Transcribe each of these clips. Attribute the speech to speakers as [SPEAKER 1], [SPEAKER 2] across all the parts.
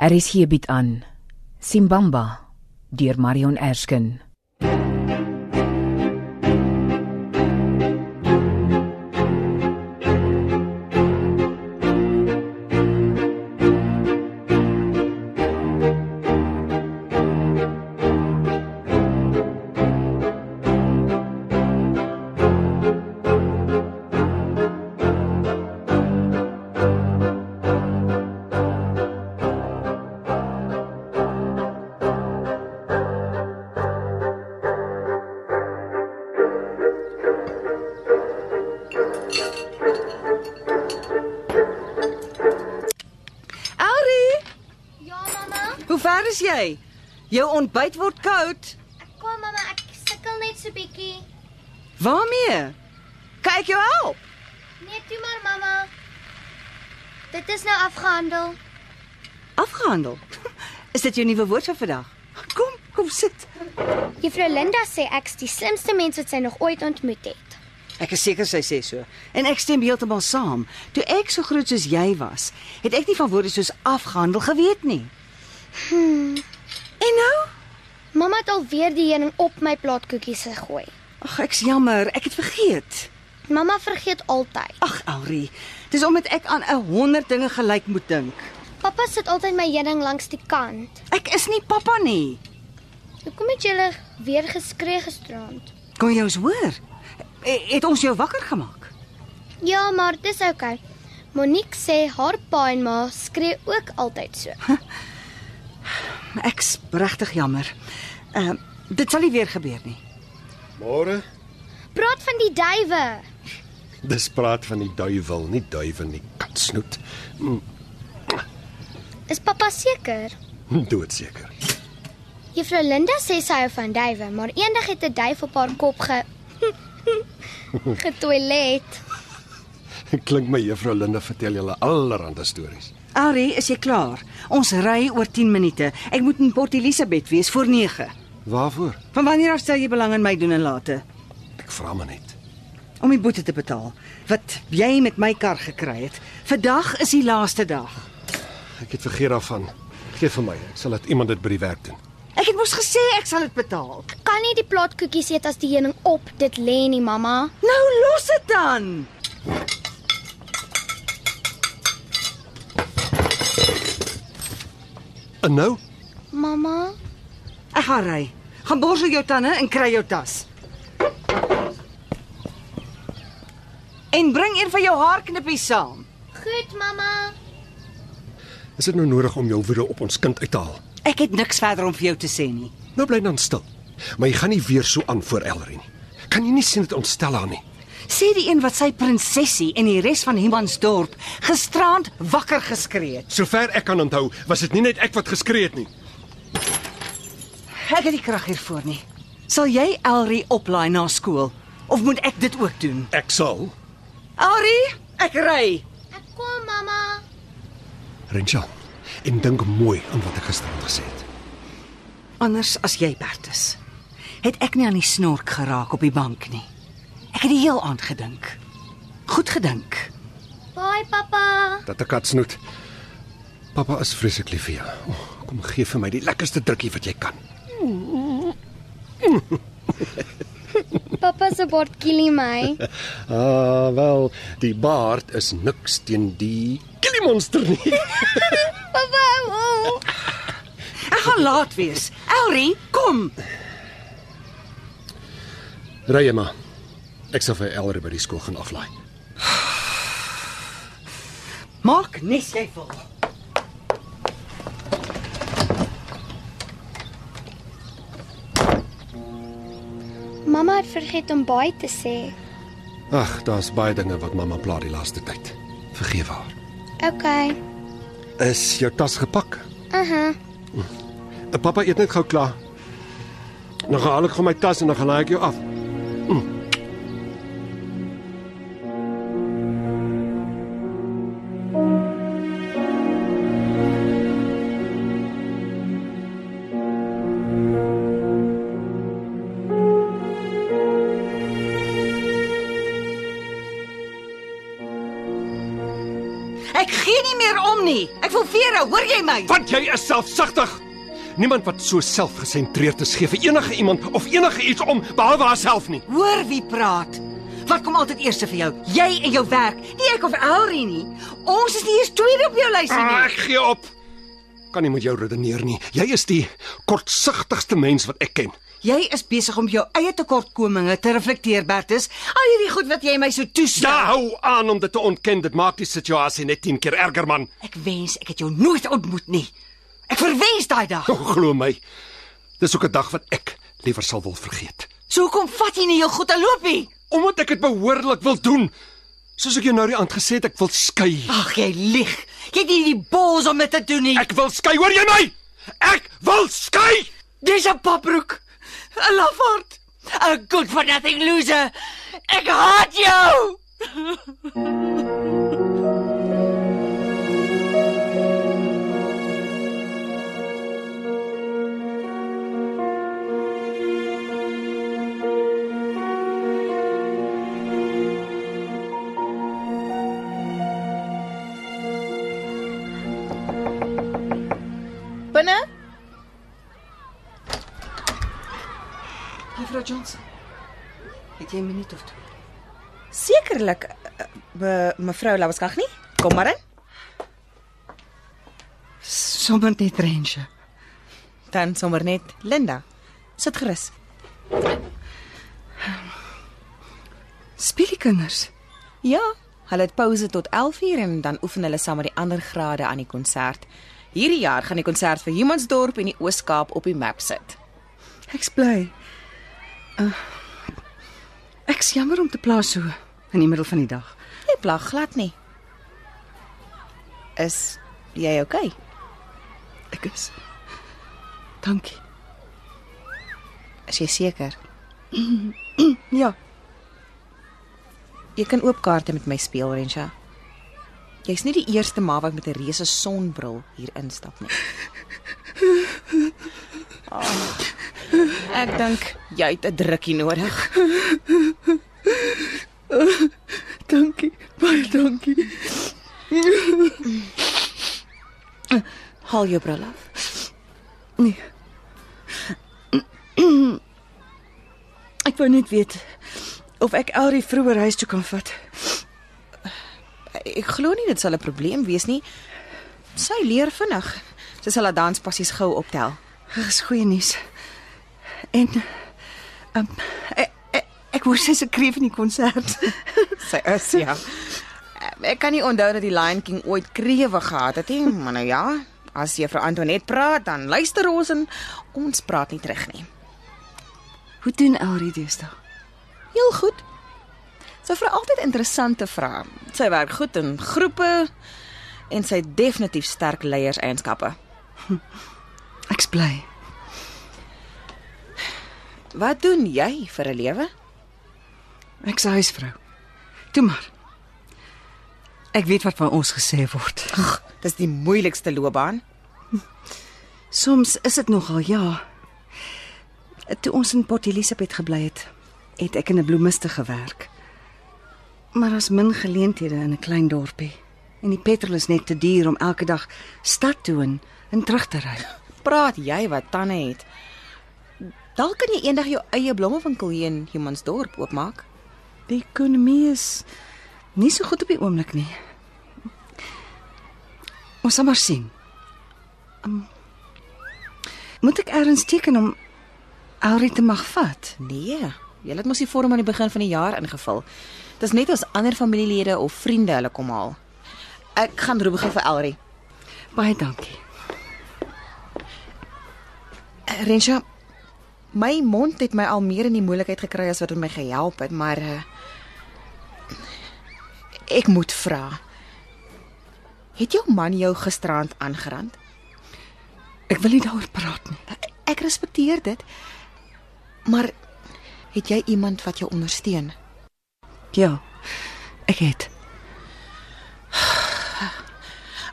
[SPEAKER 1] RSG Er bied aan Simbamba deur Marion Erskine.
[SPEAKER 2] Elrie,
[SPEAKER 3] Ja, mamma.
[SPEAKER 2] hoe ver is jy? Jou ontbyt word koud.
[SPEAKER 3] Ek kom, mamma. Ek sukkel net so bietjie.
[SPEAKER 2] Waarmee? Kan ek jou help?
[SPEAKER 3] Nee, toe maar, mamma. Dit is nou afgehandel.
[SPEAKER 2] Afgehandel. Is dit jou nuwe woord vir vandag? Kom, kom sit.
[SPEAKER 3] Juffrou Linda sê ek's die slimste mens wat sy nog ooit ontmoet het.
[SPEAKER 2] Ek is seker sy sê so. En ek stem heeltemal saam. Toe ek so groot soos jy was, het ek nie van woorde soos afgehandel geweet nie. Hmm. En nou?
[SPEAKER 3] Mamma het alweer die heuning op my plaatkoekies gegooi.
[SPEAKER 2] Ag, ek's jammer, ek het vergeet.
[SPEAKER 3] Mamma vergeet altyd.
[SPEAKER 2] Ag, Elrie, dis omdat ek aan 'n 100 dinge gelyk moet dink.
[SPEAKER 3] Pappa sit altyd my heuning langs die kant.
[SPEAKER 2] Ek is nie pappa nie.
[SPEAKER 3] Hoekom het julle weer geskree gisterand?
[SPEAKER 2] Kon jy ons hoor? E- Het ons jou wakker gemaak?
[SPEAKER 3] Ja, maar dis oukei. Okay. Monique sê haar pa en ma skree ook altyd so.
[SPEAKER 2] Ek's regtig jammer. Ehm uh, dit sal nie weer gebeur nie.
[SPEAKER 4] Môre?
[SPEAKER 3] Praat van die duwe.
[SPEAKER 4] Dis praat van die duiwel, nie duiwe nie, katsnoet.
[SPEAKER 3] Is pappa seker?
[SPEAKER 4] Doodseker.
[SPEAKER 3] Juffrou Linda sê sy hou van duwe, maar eendag het 'n duif op haar kop ge getoilet.
[SPEAKER 4] Klink my juffrou Linda vertel julle allerlei stories.
[SPEAKER 2] Ari, is jy klaar? Ons ry oor 10 minute. Ek moet in Port Elizabeth wees voor 9.
[SPEAKER 4] Waarvoor?
[SPEAKER 2] Van wanneer af stel jy belang in my doen en late?
[SPEAKER 4] Ek vra maar net.
[SPEAKER 2] Om die boete te betaal wat jy met my kar gekry het. Vandag is die laaste dag.
[SPEAKER 4] Ek het vergeet daarvan. Geef vir my, ek sal laat iemand dit by die werk doen.
[SPEAKER 2] Ek het mos gesê ek sal dit betaal.
[SPEAKER 3] Kan nie die plaatkoekies eet as die heuning op dit lê nie, mamma.
[SPEAKER 2] Nou los dit dan.
[SPEAKER 4] En nou?
[SPEAKER 3] Mamma,
[SPEAKER 2] Ek gaan ry. Gaan borsel jou tande en kry jou tas. En bring een van jou haarknippies saam.
[SPEAKER 3] goed mamma.
[SPEAKER 4] Is dit nou nodig om jou woede op ons kind uit te haal?
[SPEAKER 2] Ek het niks verder om vir jou te sê nie.
[SPEAKER 4] Nou bly dan stil. Maar jy gaan nie weer so aan voor Ellery nie. Kan jy nie sien dit ontstel haar nie?
[SPEAKER 2] Sê die een wat sy prinsesie en die res van Humansdorp gisterand wakker geskree het.
[SPEAKER 4] Sover ek kan onthou, was dit nie net ek wat geskree het nie.
[SPEAKER 2] Ek het die krag hiervoor nie. Sal jy Elrie oplaai na skool of moet ek dit ook doen?
[SPEAKER 4] Ek sal.
[SPEAKER 2] Elrie, ek ry.
[SPEAKER 3] Ek kom mamma.
[SPEAKER 4] Renshan, en dink mooi aan wat ek gisterand gesê het.
[SPEAKER 2] Anders as jy Bertus. Het ek nie aan die snork geraak op die bank nie. Ek het die heel aand gedink. Goed gedink.
[SPEAKER 3] Bye pappa.
[SPEAKER 4] Dat 'n kat snoet. Pappa is vreeslik lief vir jou. Oh, kom gee vir my die lekkerste drukkie wat jy kan.
[SPEAKER 3] Pappa se bord kielie my.
[SPEAKER 4] Ah, wel, die baard is niks teen die kilimonster nie.
[SPEAKER 3] pappa, oh.
[SPEAKER 2] Ek gaan laat wees. Elrie, kom.
[SPEAKER 4] Ry jy maar. Ek sal vir Elre by die skool gaan aflaai.
[SPEAKER 2] Maak nes jy wil.
[SPEAKER 3] Mamma het vergeet om baie te sê.
[SPEAKER 4] Ag, daar's baie dinge wat mamma pla die laaste tyd. Vergewe haar.
[SPEAKER 3] Okay.
[SPEAKER 4] Is jou tas gepak?
[SPEAKER 3] Aha. Uh -huh.
[SPEAKER 4] Eh, Pappa eet net gou klaar. Dan gaan ek gou my tas en dan gaan laai ek jou af.
[SPEAKER 2] Ek Ek gee nie meer om nie. Ek wil Vera, hoor jy my?
[SPEAKER 4] Want jy is selfsugtig. Niemand wat so selfgesentreerd is gee vir enige iemand of enige iets om behalwe haarself nie.
[SPEAKER 2] Hoor wie praat. Wat kom altyd eers vir jou? Jy en jou werk. Nie ek of Elrie nie. Ons is nie eens tweede op jou lysie
[SPEAKER 4] Ah,
[SPEAKER 2] nie.
[SPEAKER 4] ek gee op. Kan nie met jou redeneer nie. Jy is die kortsigtigste mens wat ek ken.
[SPEAKER 2] Jy is besig om jou eie tekortkominge te reflekteer, Bertus. Al hierdie goed wat jy my so
[SPEAKER 4] Ja,
[SPEAKER 2] toestaan.
[SPEAKER 4] hou aan om dit te ontken. Dit maak die situasie net 10 keer erger, man.
[SPEAKER 2] Ek wens ek het jou nooit ontmoet nie. Ek verwens daai dag.
[SPEAKER 4] O, glo my. Dis ook 'n dag wat ek liewer sal wil vergeet.
[SPEAKER 2] So hoekom vat jy nie jou goed en loop nie?
[SPEAKER 4] Omdat ek dit behoorlik wil doen. Soos ek jou nou die aand gesê het, ek wil skei.
[SPEAKER 2] Ag, jy lieg. Jy het nie die balls om dit te doen nie.
[SPEAKER 4] Ek wil skei, hoor jy my? Ek wil skei.
[SPEAKER 2] Dis 'n papbroek. 'n Lafaard. 'n Good for nothing loser. Ek haat jou.
[SPEAKER 5] Binne?
[SPEAKER 2] Juffrou Johnson. Het jy 'n minuut of twee?
[SPEAKER 5] Sekerlik eh, me- mevrou Lawaskag nie. Kom maar in.
[SPEAKER 2] Sommer net Rensje.
[SPEAKER 5] Dan sommer net Linda. Sit gerus.
[SPEAKER 2] Speel die kinders.
[SPEAKER 5] Ja, hulle het pouse tot 11uur en dan oefen hulle saam met die ander grade aan die konsert. Hierdie jaar gaan die konsert vir Humansdorp en die Oos-Kaap op die map sit.
[SPEAKER 2] Ek's bly. Uh, ek's jammer om te plaas so in die middel van die dag.
[SPEAKER 5] Jy plag glad nie. Is jy okay?
[SPEAKER 2] Ek is. Dankie.
[SPEAKER 5] Is jy seker?
[SPEAKER 2] Ja,
[SPEAKER 5] Jy kan oop kaarte met my speel, Rensha. Jy's nie die eerste ma wat met 'n reuse sonbril hier instap nie. Oh, Ah, ek dink jy het 'n drukkie nodig.
[SPEAKER 2] dankie. Baie dankie.
[SPEAKER 5] Haal jou bril af.
[SPEAKER 2] Nee. Ek wou net weet of ek Elrie vroeër huis toe kan vat.
[SPEAKER 5] Ek glo nie dit sal 'n probleem wees nie. Sy leer vinnig. Sy sal haar danspassies gou optel.
[SPEAKER 2] Dit is goeie nuus. En um, ek, ek, ek hoor sy's 'n kreef in die konsert.
[SPEAKER 5] Sy is ja. Ek kan nie onthou dat die Lion King ooit krewe gehad het nie, maar nou ja, as juffrou Antoinette praat, dan luister ons en ons praat nie terug nie.
[SPEAKER 2] Hoe doen Elrie deesdae?
[SPEAKER 5] Heel goed. Sy vra altyd interessante vrae. Sy werk goed in groepe en sy het definitief sterk leierseienskappe.
[SPEAKER 2] Ek's bly.
[SPEAKER 5] Wat doen jy vir 'n lewe?
[SPEAKER 2] Ek's 'n huisvrou. Toe maar. Ek weet wat van ons gesê word. Ach,
[SPEAKER 5] Dis die moeilikste loopbaan.
[SPEAKER 2] soms is dit nogal ja. Toe ons in Port Elizabeth gebly het, het ek in 'n bloemiste gewerk. Maar daar's min geleenthede in 'n klein dorpie en die petrol is net te duur om elke dag stad toe en, en terug te ry.
[SPEAKER 5] Praat jy wat tande het? Dalk kan jy eendag jou eie blommewinkel hier in Humansdorp oopmaak.
[SPEAKER 2] Die ekonomie is nie so goed op die oomblik nie. Ons sal maar sien. Um, moet ek ergens teken om Alrie te mag vat?
[SPEAKER 5] Nee, jy het mos die vorm aan die begin van die jaar ingevul. Dis net as ander familielede of vriende hulle kom haal. Ek gaan roep gou vir Elrie.
[SPEAKER 2] Baie dankie.
[SPEAKER 5] Eh, Rensha, my mond het my al meer in die moeilikheid gekry as wat dit my gehelp het, maar uh, ek moet vra. Het jou man jou gisterand aangerand? Eh,
[SPEAKER 2] Ek wil nie daaroor praat nie.
[SPEAKER 5] Ek respekteer dit. Maar het jy iemand wat jou ondersteun?
[SPEAKER 2] Ja. Ek het.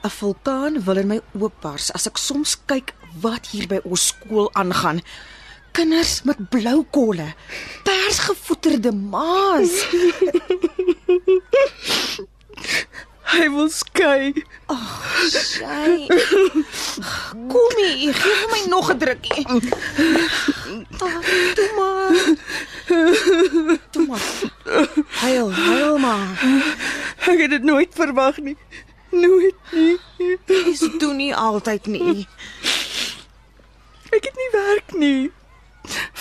[SPEAKER 5] 'n Vulkaan wil in my oopbars as ek soms kyk wat hier by ons skool aangaan. Kinders met blou kolle, persgevoeterde maas.
[SPEAKER 2] Hy wil skei.
[SPEAKER 5] Sy. Kom hier, gee vir my nog 'n drukkie. Ah, Toe maar. Toe maar. Huil, huil maar.
[SPEAKER 2] Ek het dit nooit verwag nie. Nooit nie.
[SPEAKER 5] Dis doen nie altyd nie.
[SPEAKER 2] Ek het nie werk nie.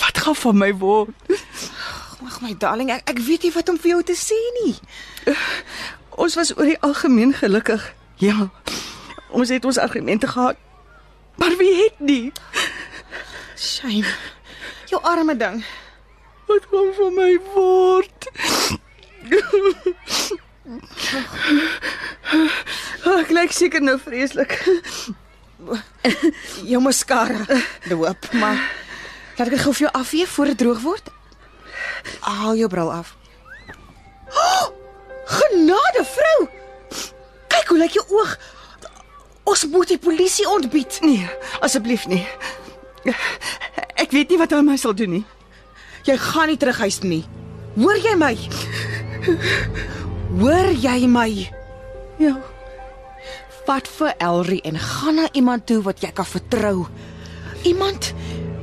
[SPEAKER 2] Wat gaan van my word?
[SPEAKER 5] Mag my darling, ek ek weet nie wat om vir jou te sê nie.
[SPEAKER 2] Ons was oor die algemeen gelukkig. Ja. Ons het ons argumente gehad. Maar wie het nie?
[SPEAKER 5] Shame. Jou arme ding.
[SPEAKER 2] Wat gaan van my word? Ek lyk seker nou vreeslik.
[SPEAKER 5] Jou mascara loop, maar laat ek dit gou vir jou afvee voor dit droog word. Haal jou bril af. Oh, genade, vrou. Kyk hoe lyk jou oog. Ons moet die polisie ontbied.
[SPEAKER 2] Nee, asseblief nie. Ek weet nie wat aan my sal doen nie.
[SPEAKER 5] Jy gaan nie terug huis toe nie. Hoor jy my? Hoor jy my?
[SPEAKER 2] Ja.
[SPEAKER 5] Vat vir Elrie en gaan na iemand toe wat jy kan vertrou. Iemand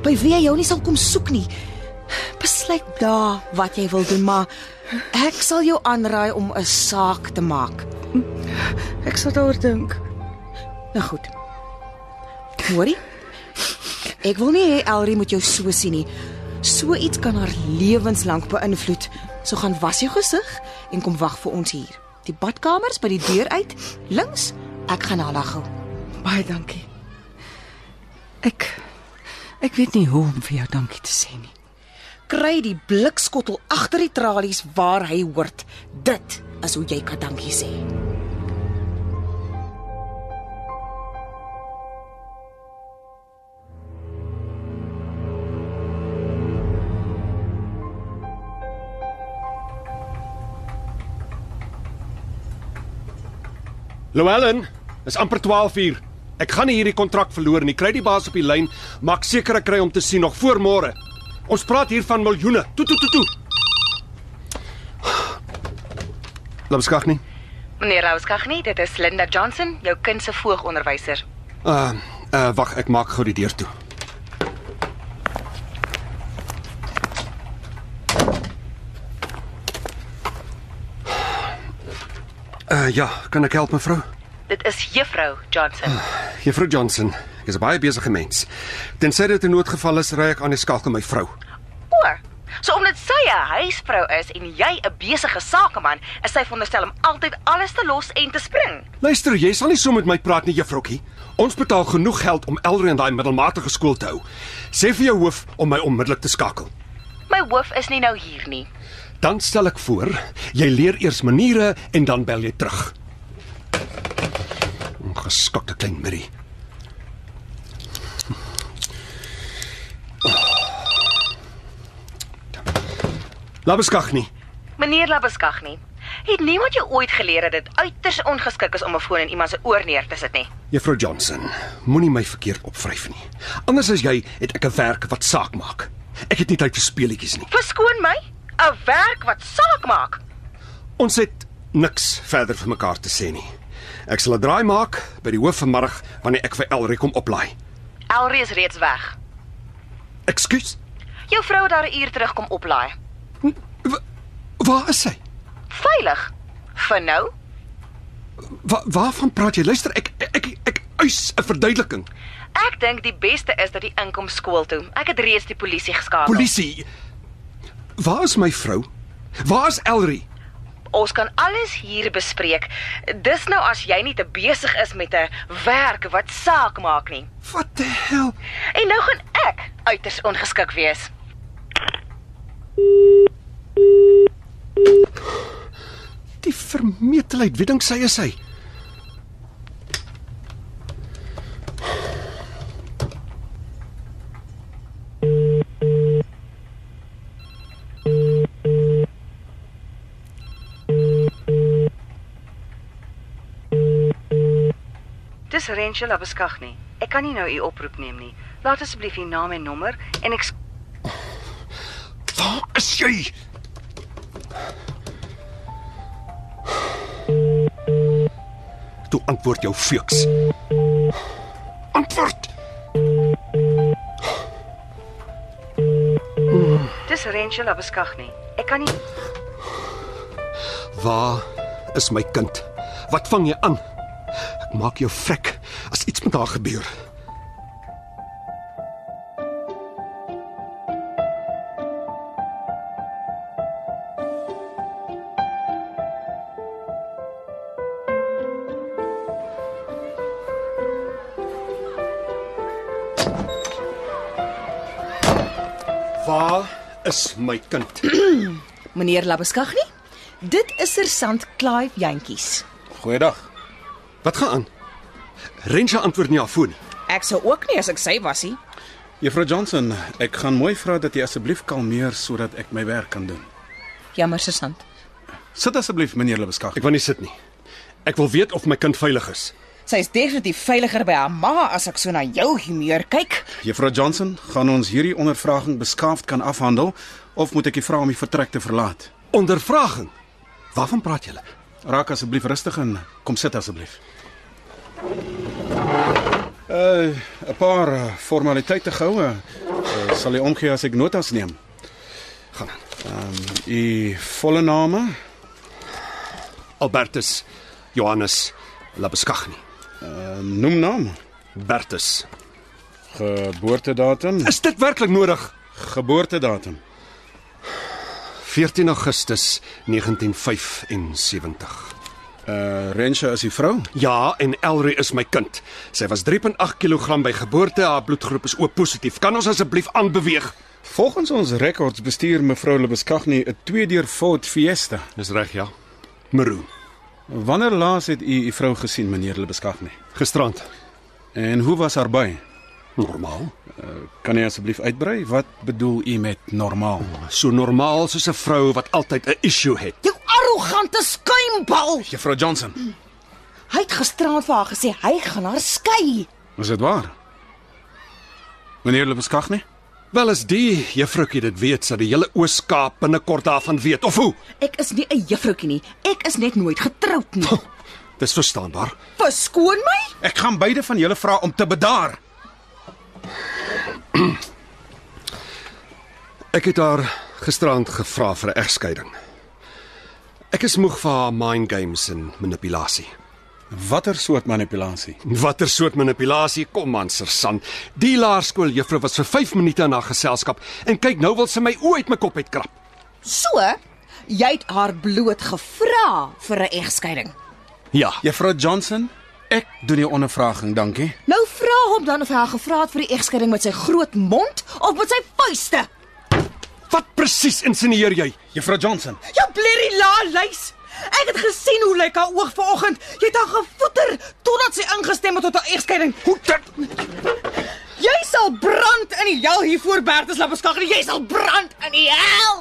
[SPEAKER 5] by wie jy jou nie sal kom soek nie. Besluit daar wat jy wil doen, maar ek sal jou aanraai om 'n saak te maak.
[SPEAKER 2] Ek sal daaroor dink.
[SPEAKER 5] Nou goed. Hoorie? Ek wil nie hê Elrie moet jou so sien nie. So iets kan haar lewenslank beïnvloed. So gaan was jou gesig en kom wag vir ons hier. Die badkamers by die deur uit, links. Ek gaan na lag gou.
[SPEAKER 2] Baie dankie. Ek ek weet nie hoe om vir jou dankie te sê nie.
[SPEAKER 5] kry die blikskottel agter die tralies waar hy hoort. Dit is hoe jy kan dankie sê.
[SPEAKER 4] Llewellyn, is amper 12uur. Ek gaan nie hierdie kontrak verloor nie. Kry die baas op die lyn. Maak seker ek kry hom te sien nog voor môre. Ons praat hier van miljoene. Toe toe toe toe. Lamskag nie.
[SPEAKER 6] Meneer Rouskagni, dit is Linda Johnson, jou kind se voogonderwyser.
[SPEAKER 4] Uh, uh wag, ek maak gou die deur toe. Uh ja, kan ek help mevrou?
[SPEAKER 6] Dit is Juffrou Johnson.
[SPEAKER 4] Juffrou Johnson, ek is 'n baie besige mens. Tensy dit 'n noodgeval is, ry ek aan die skakel my vrou.
[SPEAKER 6] O, so omdat sy 'n huisvrou is en jy 'n besige sakeman, is sy veronderstel om altyd alles te los en te spring.
[SPEAKER 4] Luister, jy sal nie so met my praat nie, juffroukie. Ons betaal genoeg geld om Elre in daai middelmatige skool te hou. Sê vir jou hoof om my onmiddellik te skakel.
[SPEAKER 6] My hoof is nie nou hier nie.
[SPEAKER 4] Dan stel ek voor, jy leer eers maniere en dan bel jy terug. Ongeskokte klein Murray. Labeskag nie.
[SPEAKER 6] Meneer Labuskagni, het niemand jou ooit geleer dat dit uiters ongeskik is om 'n foon in iemand se oor neer te sit nie?
[SPEAKER 4] Juffrou Johnson, moenie my verkeerd opvryf nie. Anders as jy het ek 'n werk wat saak maak. Ek het nie tyd vir speletjies nie.
[SPEAKER 6] Verskoon my, 'n werk wat saak maak.
[SPEAKER 4] Ons het niks verder vir mekaar te sê nie. Ek sal 'n draai maak by die hoof vanmiddag wanneer ek vir Elrie kom oplaai.
[SPEAKER 6] Elrie is reeds weg.
[SPEAKER 4] Ekskuus.
[SPEAKER 6] Jou vrou het daar 'n uur terug kom oplaai.
[SPEAKER 4] Wa- Waar is sy?
[SPEAKER 6] Veilig. Vir nou?
[SPEAKER 4] Wa waarvan praat jy? Luister, ek ek ek, ek eis 'n verduideliking.
[SPEAKER 6] Ek dink die beste is dat die inkom skool toe. Ek het reeds die polisie geskakel.
[SPEAKER 4] Polisie. Waar is my vrou? Waar is Elrie?
[SPEAKER 6] Ons kan alles hier bespreek. Dis nou as jy nie te besig is met 'n werk wat saak maak nie.
[SPEAKER 4] Wat die hel?
[SPEAKER 6] En nou gaan ek uiters ongeskik wees.
[SPEAKER 4] Die vermetelheid, wie dink sy is hy?
[SPEAKER 7] Dis Rensel Labuskaghni. Ek kan nie nou u oproep neem nie. Laat asseblief u naam en nommer en ek
[SPEAKER 4] Waar is jy? toe antwoord jou feuks. Antwoord.
[SPEAKER 7] Dis Rachel Labeskagni. Ek kan nie
[SPEAKER 4] Waar is my kind? Wat vang jy aan? Ek maak jou vrek as iets met haar gebeur. Waar is my kind?
[SPEAKER 5] Meneer Labeskagni, dit is sergeant Clive Jantjies.
[SPEAKER 8] Goeiedag.
[SPEAKER 4] Wat gaan aan? Rensha antwoord nie haar foon nie.
[SPEAKER 5] Ek sou ook nie as ek sy was nie.
[SPEAKER 8] Juffrou Johnson, ek gaan mooi vra dat jy asseblief kalmeer sodat ek my werk kan doen.
[SPEAKER 5] Jammer sergeant.
[SPEAKER 8] Sit asseblief meneer Lebeskag.
[SPEAKER 4] Ek wil nie sit nie. Ek wil weet of my kind veilig is.
[SPEAKER 5] Sy is definitief veiliger by haar ma as ek so na jou humeur kyk.
[SPEAKER 8] Juffrou Johnson, gaan ons hierdie ondervraging beskaafd kan afhandel of moet ek u vra om die vertrek te verlaat?
[SPEAKER 4] Ondervraging. Waarvan praat julle?
[SPEAKER 8] Raak asseblief rustig en kom sit asseblief. Uh, 'n paar eh, formaliteite goue. Uh, sal u omgee as ek notas neem?
[SPEAKER 4] Gaan aan.
[SPEAKER 8] U volle uh, name,
[SPEAKER 4] Albertus Johannes Labeskagni.
[SPEAKER 8] eh, noemnaam,
[SPEAKER 4] Bertus.
[SPEAKER 8] geboortedatum,
[SPEAKER 4] Is dit werklik nodig?
[SPEAKER 8] geboortedatum.
[SPEAKER 4] 14 Augustus 1975.
[SPEAKER 8] Uh Rensha is die vrou.
[SPEAKER 4] Ja, en Elrie is my kind. Sy was 3.8 kg by geboorte. Haar bloedgroep is O positief. Kan ons asseblief aanbeweeg?
[SPEAKER 8] Volgens ons rekords bestuur mevrou Lebeskagni 'n 2-deur Ford Fiesta.
[SPEAKER 4] Dis reg, ja. Maroon.
[SPEAKER 8] Wanneer laas het u u vrou gesien, meneer Lebeskagni?
[SPEAKER 4] Gisterand.
[SPEAKER 8] En hoe was haar by?
[SPEAKER 4] Normaal.
[SPEAKER 8] Kan u asseblief uitbrei wat bedoel u met normaal?
[SPEAKER 4] So normaal soos 'n vrou wat altyd 'n issue het.
[SPEAKER 5] Jou arrogante skuimbal.
[SPEAKER 2] Ja.
[SPEAKER 8] Juffrou Johnson,
[SPEAKER 5] Hy het gisteraand vir haar gesê hy gaan haar skei.
[SPEAKER 8] is dit waar? Meneer Lebeskagni?
[SPEAKER 4] Wel as die juffroukie dit weet, sal die hele Oos-Kaap binnekort daarvan weet of hoe?
[SPEAKER 5] Ek is nie 'n juffroutjie nie. Ek is net nooit getroud nie.
[SPEAKER 4] Dis verstaanbaar.
[SPEAKER 5] Verskoon my?
[SPEAKER 8] Ek gaan beide van julle vra om te bedaar.
[SPEAKER 4] Ek het haar gisterand gevra vir 'n egskeiding. Ek is moeg vir haar mind games en manipulasie.
[SPEAKER 8] Watter soort manipulasie?
[SPEAKER 4] Watter soort manipulasie kom man, Sersan? Die laerskool juffrou was vir 5 minute in haar geselskap en kyk nou wil sy my oë uit my kop uitkrap.
[SPEAKER 5] So, jy het haar bloot gevra vir 'n egskeiding.
[SPEAKER 4] Ja,
[SPEAKER 8] Juffrou Johnson, ek doen die ondervraging, dankie.
[SPEAKER 5] Nou vra hom dan of hy haar gevra het vir die egskeiding met sy groot mond of met sy vuiste.
[SPEAKER 4] wat presies insinieer jy?
[SPEAKER 8] Juffrou Johnson,
[SPEAKER 5] Jou blerrie la lys. Ek het gesien hoe lyk haar oog vanoggend. Jy het haar gevoeter totdat sy ingestem het tot haar egskeiding.
[SPEAKER 4] Hoe dit?
[SPEAKER 5] Jy sal brand in die hel hier voor Bertus Labeskagri. Jy sal brand in die hel.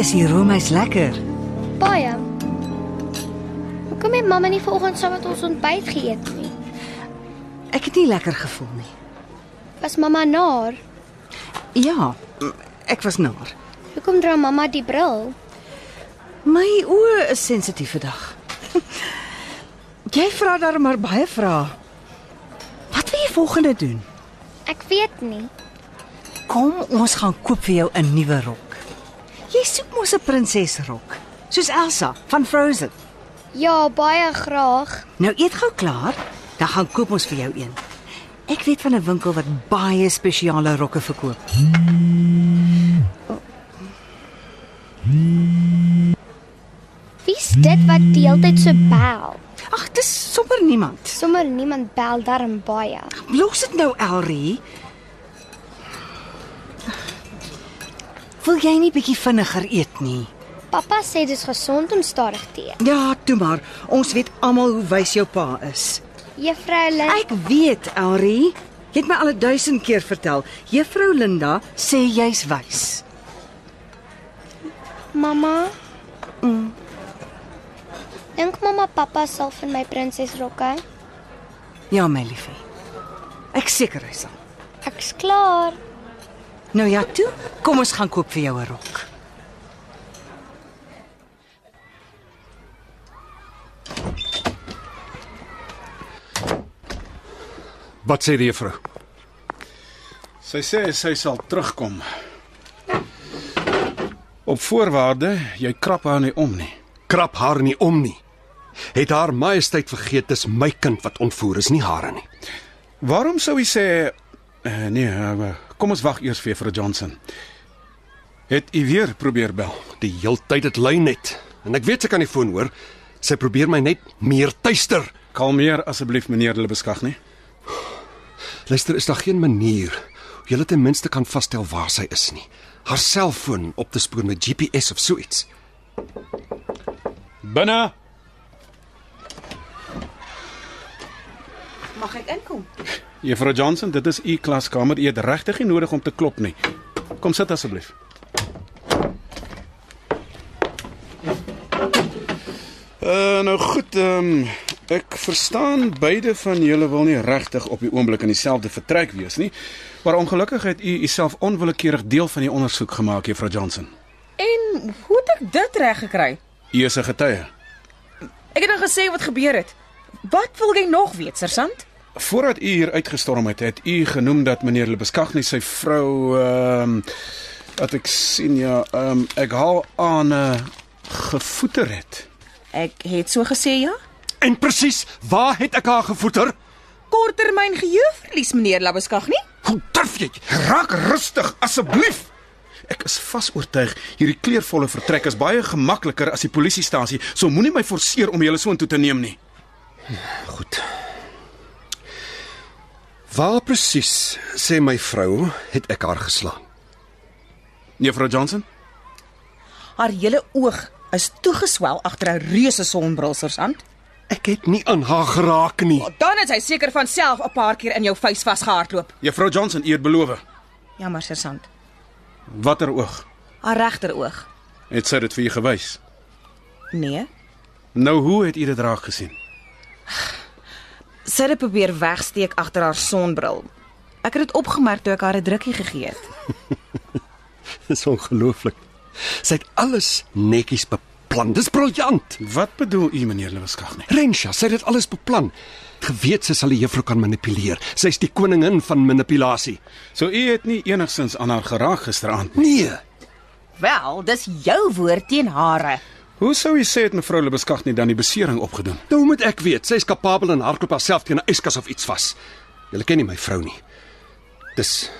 [SPEAKER 2] Is die roomys lekker?
[SPEAKER 3] Baie. Hoekom het mamma nie vanoggend saam met ons ontbyt geëet nie?
[SPEAKER 2] Ek het nie lekker gevoel nie.
[SPEAKER 3] Was mamma naar?
[SPEAKER 2] Ja, ek was naar.
[SPEAKER 3] Hoekom dra mamma die bril?
[SPEAKER 2] My oë is sensitief vandag. Jy vra daar maar baie vrae. Wat wil jy volgende doen?
[SPEAKER 3] Ek weet nie.
[SPEAKER 2] Kom, ons gaan koop vir jou 'n nuwe rok. Jy soek mos 'n prinsesrok, soos Elsa van Frozen.
[SPEAKER 3] Ja, baie graag.
[SPEAKER 2] Nou eet gou klaar, dan gaan koop ons vir jou een. Ek weet van 'n winkel wat baie spesiale rokke verkoop.
[SPEAKER 3] Wie's dit wat die hele tyd so bel?
[SPEAKER 2] Ag, dis sommer niemand.
[SPEAKER 3] Sommer niemand bel darm baie.
[SPEAKER 2] Los dit nou, Elrie. Wil jy nie bietjie vinniger eet nie?
[SPEAKER 3] Pappa sê dis gesond om stadig te eet.
[SPEAKER 2] Ja, toe maar. Ons weet almal hoe wys jou pa is.
[SPEAKER 3] Juffrou Lynn,
[SPEAKER 2] Ek weet, Elrie. Jy het my al 'n duisend keer vertel. Juffrou Linda sê jy's wys.
[SPEAKER 3] mamma. Mm. Dink mamma pappa sal vir my prinsesrokke.
[SPEAKER 2] Ja, my liefie. Ek seker hy sal.
[SPEAKER 3] Ek's klaar.
[SPEAKER 2] Nou ja, toe. Kom ons gaan koop vir jou 'n rok.
[SPEAKER 4] Wat sê die juffrou?
[SPEAKER 8] Sy sê sy sal terugkom. Op voorwaarde jy krap haar nie om nie.
[SPEAKER 4] Krap haar nie om nie. Het haar majesteit vergeet dis my kind wat ontvoer is, nie hare nie.
[SPEAKER 8] Waarom sou hy sê eh, nee, eh, kom ons wag eers vir vir Johnson. Het u weer probeer bel?
[SPEAKER 4] Die heeltyd dit lyn net. En ek weet sy kan die foon hoor. Sy probeer my net meer tuister.
[SPEAKER 8] Kalmeer asseblief meneer Lebeskag nie.
[SPEAKER 4] Luister, is daar geen manier hoe jy ten minste kan vasstel waar sy is nie. Haar selfoon op te spoor met GPS of so iets.
[SPEAKER 8] Binne.
[SPEAKER 5] Mag ek inkom?
[SPEAKER 8] Juffrou Johnson, dit is u klaskamer. U het regtig nie nodig om te klop nie. Kom sit asseblief. Uh, nou goed, ehm um, ek verstaan beide van julle wil nie regtig op die oomblik in dieselfde vertrek wees nie, maar ongelukkig het u uself onwillekeurig deel van die ondersoek gemaak, Juffrou Johnson.
[SPEAKER 5] En hoe het ek dit reg gekry?
[SPEAKER 8] U is 'n getuie.
[SPEAKER 5] Ek het nou gesê wat gebeur het. Wat wil jy nog weet, sergeant?
[SPEAKER 8] Voordat u hier uitgestorm het, het u genoem dat meneer Lebeskagni sy vrou ehm dat ek sien ja, ehm ek haal aan eh, gevoeter het.
[SPEAKER 5] Ek het so gesê ja.
[SPEAKER 4] En presies, waar het ek haar gevoeter?
[SPEAKER 5] Korttermyn geheueverlies, meneer Labeskag nie?
[SPEAKER 4] Hoe durf jy?
[SPEAKER 8] Raak rustig asseblief. Ek is vas oortuig hierdie kleurvolle vertrek is baie gemakliker as die polisiestasie, so moenie my forceer om julle so intoe te neem nie.
[SPEAKER 4] Goed. Waar presies, sê my vrou, het ek haar geslaan?
[SPEAKER 8] Juffrou Johnson,
[SPEAKER 5] Haar hele oog is toegeswel agter 'n reuse sonbril, sergeant.
[SPEAKER 4] Ek het nie aan haar geraak nie.
[SPEAKER 5] Oh, Dan het hy seker van self 'n paar keer in jou vuis vasgehardloop.
[SPEAKER 8] Juffrou Johnson, u het beloof.
[SPEAKER 5] Jammer, sergeant.
[SPEAKER 8] Watter oog
[SPEAKER 5] Haar regteroog.
[SPEAKER 8] het sy dit vir u gewys?
[SPEAKER 5] Nee.
[SPEAKER 8] Nou hoe het u dit raak gesien?
[SPEAKER 5] Sy het dit probeer wegsteek agter haar sonbril. Ek het dit opgemerk toe ek haar 'n drukkie gegee het.
[SPEAKER 4] Dis ongelooflik. Sy het alles netjies beplan. Dis briljant.
[SPEAKER 8] Wat bedoel u meneer Lebeskagni?
[SPEAKER 4] Rensha, sy het dit alles beplan. Geweet sy sal die juffrou kan manipuleer. Sy's die koningin van manipulasie.
[SPEAKER 8] So u het nie enigstens aan haar geraak gisteraand nie.
[SPEAKER 4] Nee,
[SPEAKER 5] Wel, dis jou woord teen hare.
[SPEAKER 8] Hoe sou u sê het mevrou Lebeskag nie dan die besering opgedoen?
[SPEAKER 4] nou moet ek weet. Sy's kapabel en hardloop haarself teen 'n yskas of iets vas. Jy ken nie my vrou nie. Dis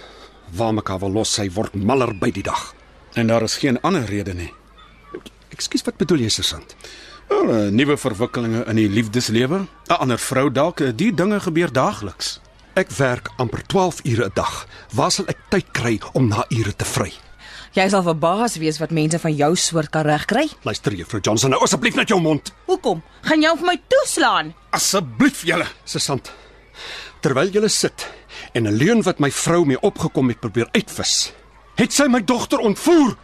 [SPEAKER 4] waar mekaar wil los. Sy word maller by die dag.
[SPEAKER 8] En daar is geen ander rede nie.
[SPEAKER 4] Ekskuus, wat bedoel jy, sergeant?
[SPEAKER 8] Wel, eh, nuwe verwikkelinge in die liefdeslewe, 'n ander vrou dalk, eh, die dinge gebeur daagliks.
[SPEAKER 4] Ek werk amper 12 ure 'n dag. Waar sal ek tyd kry om na ure te vry?
[SPEAKER 5] Jy sal verbaas wees wat mense van jou soort kan regkry.
[SPEAKER 4] Luister juffrou Johnson, nou asseblief net jou mond.
[SPEAKER 5] Hoekom? Gaan jy hom vir my toeslaan?
[SPEAKER 8] Asseblief julle.
[SPEAKER 4] Sesant. Terwyl jy sit en 'n leuen wat my vrou mee opgekom het probeer uitvis, het sy my dogter ontvoer.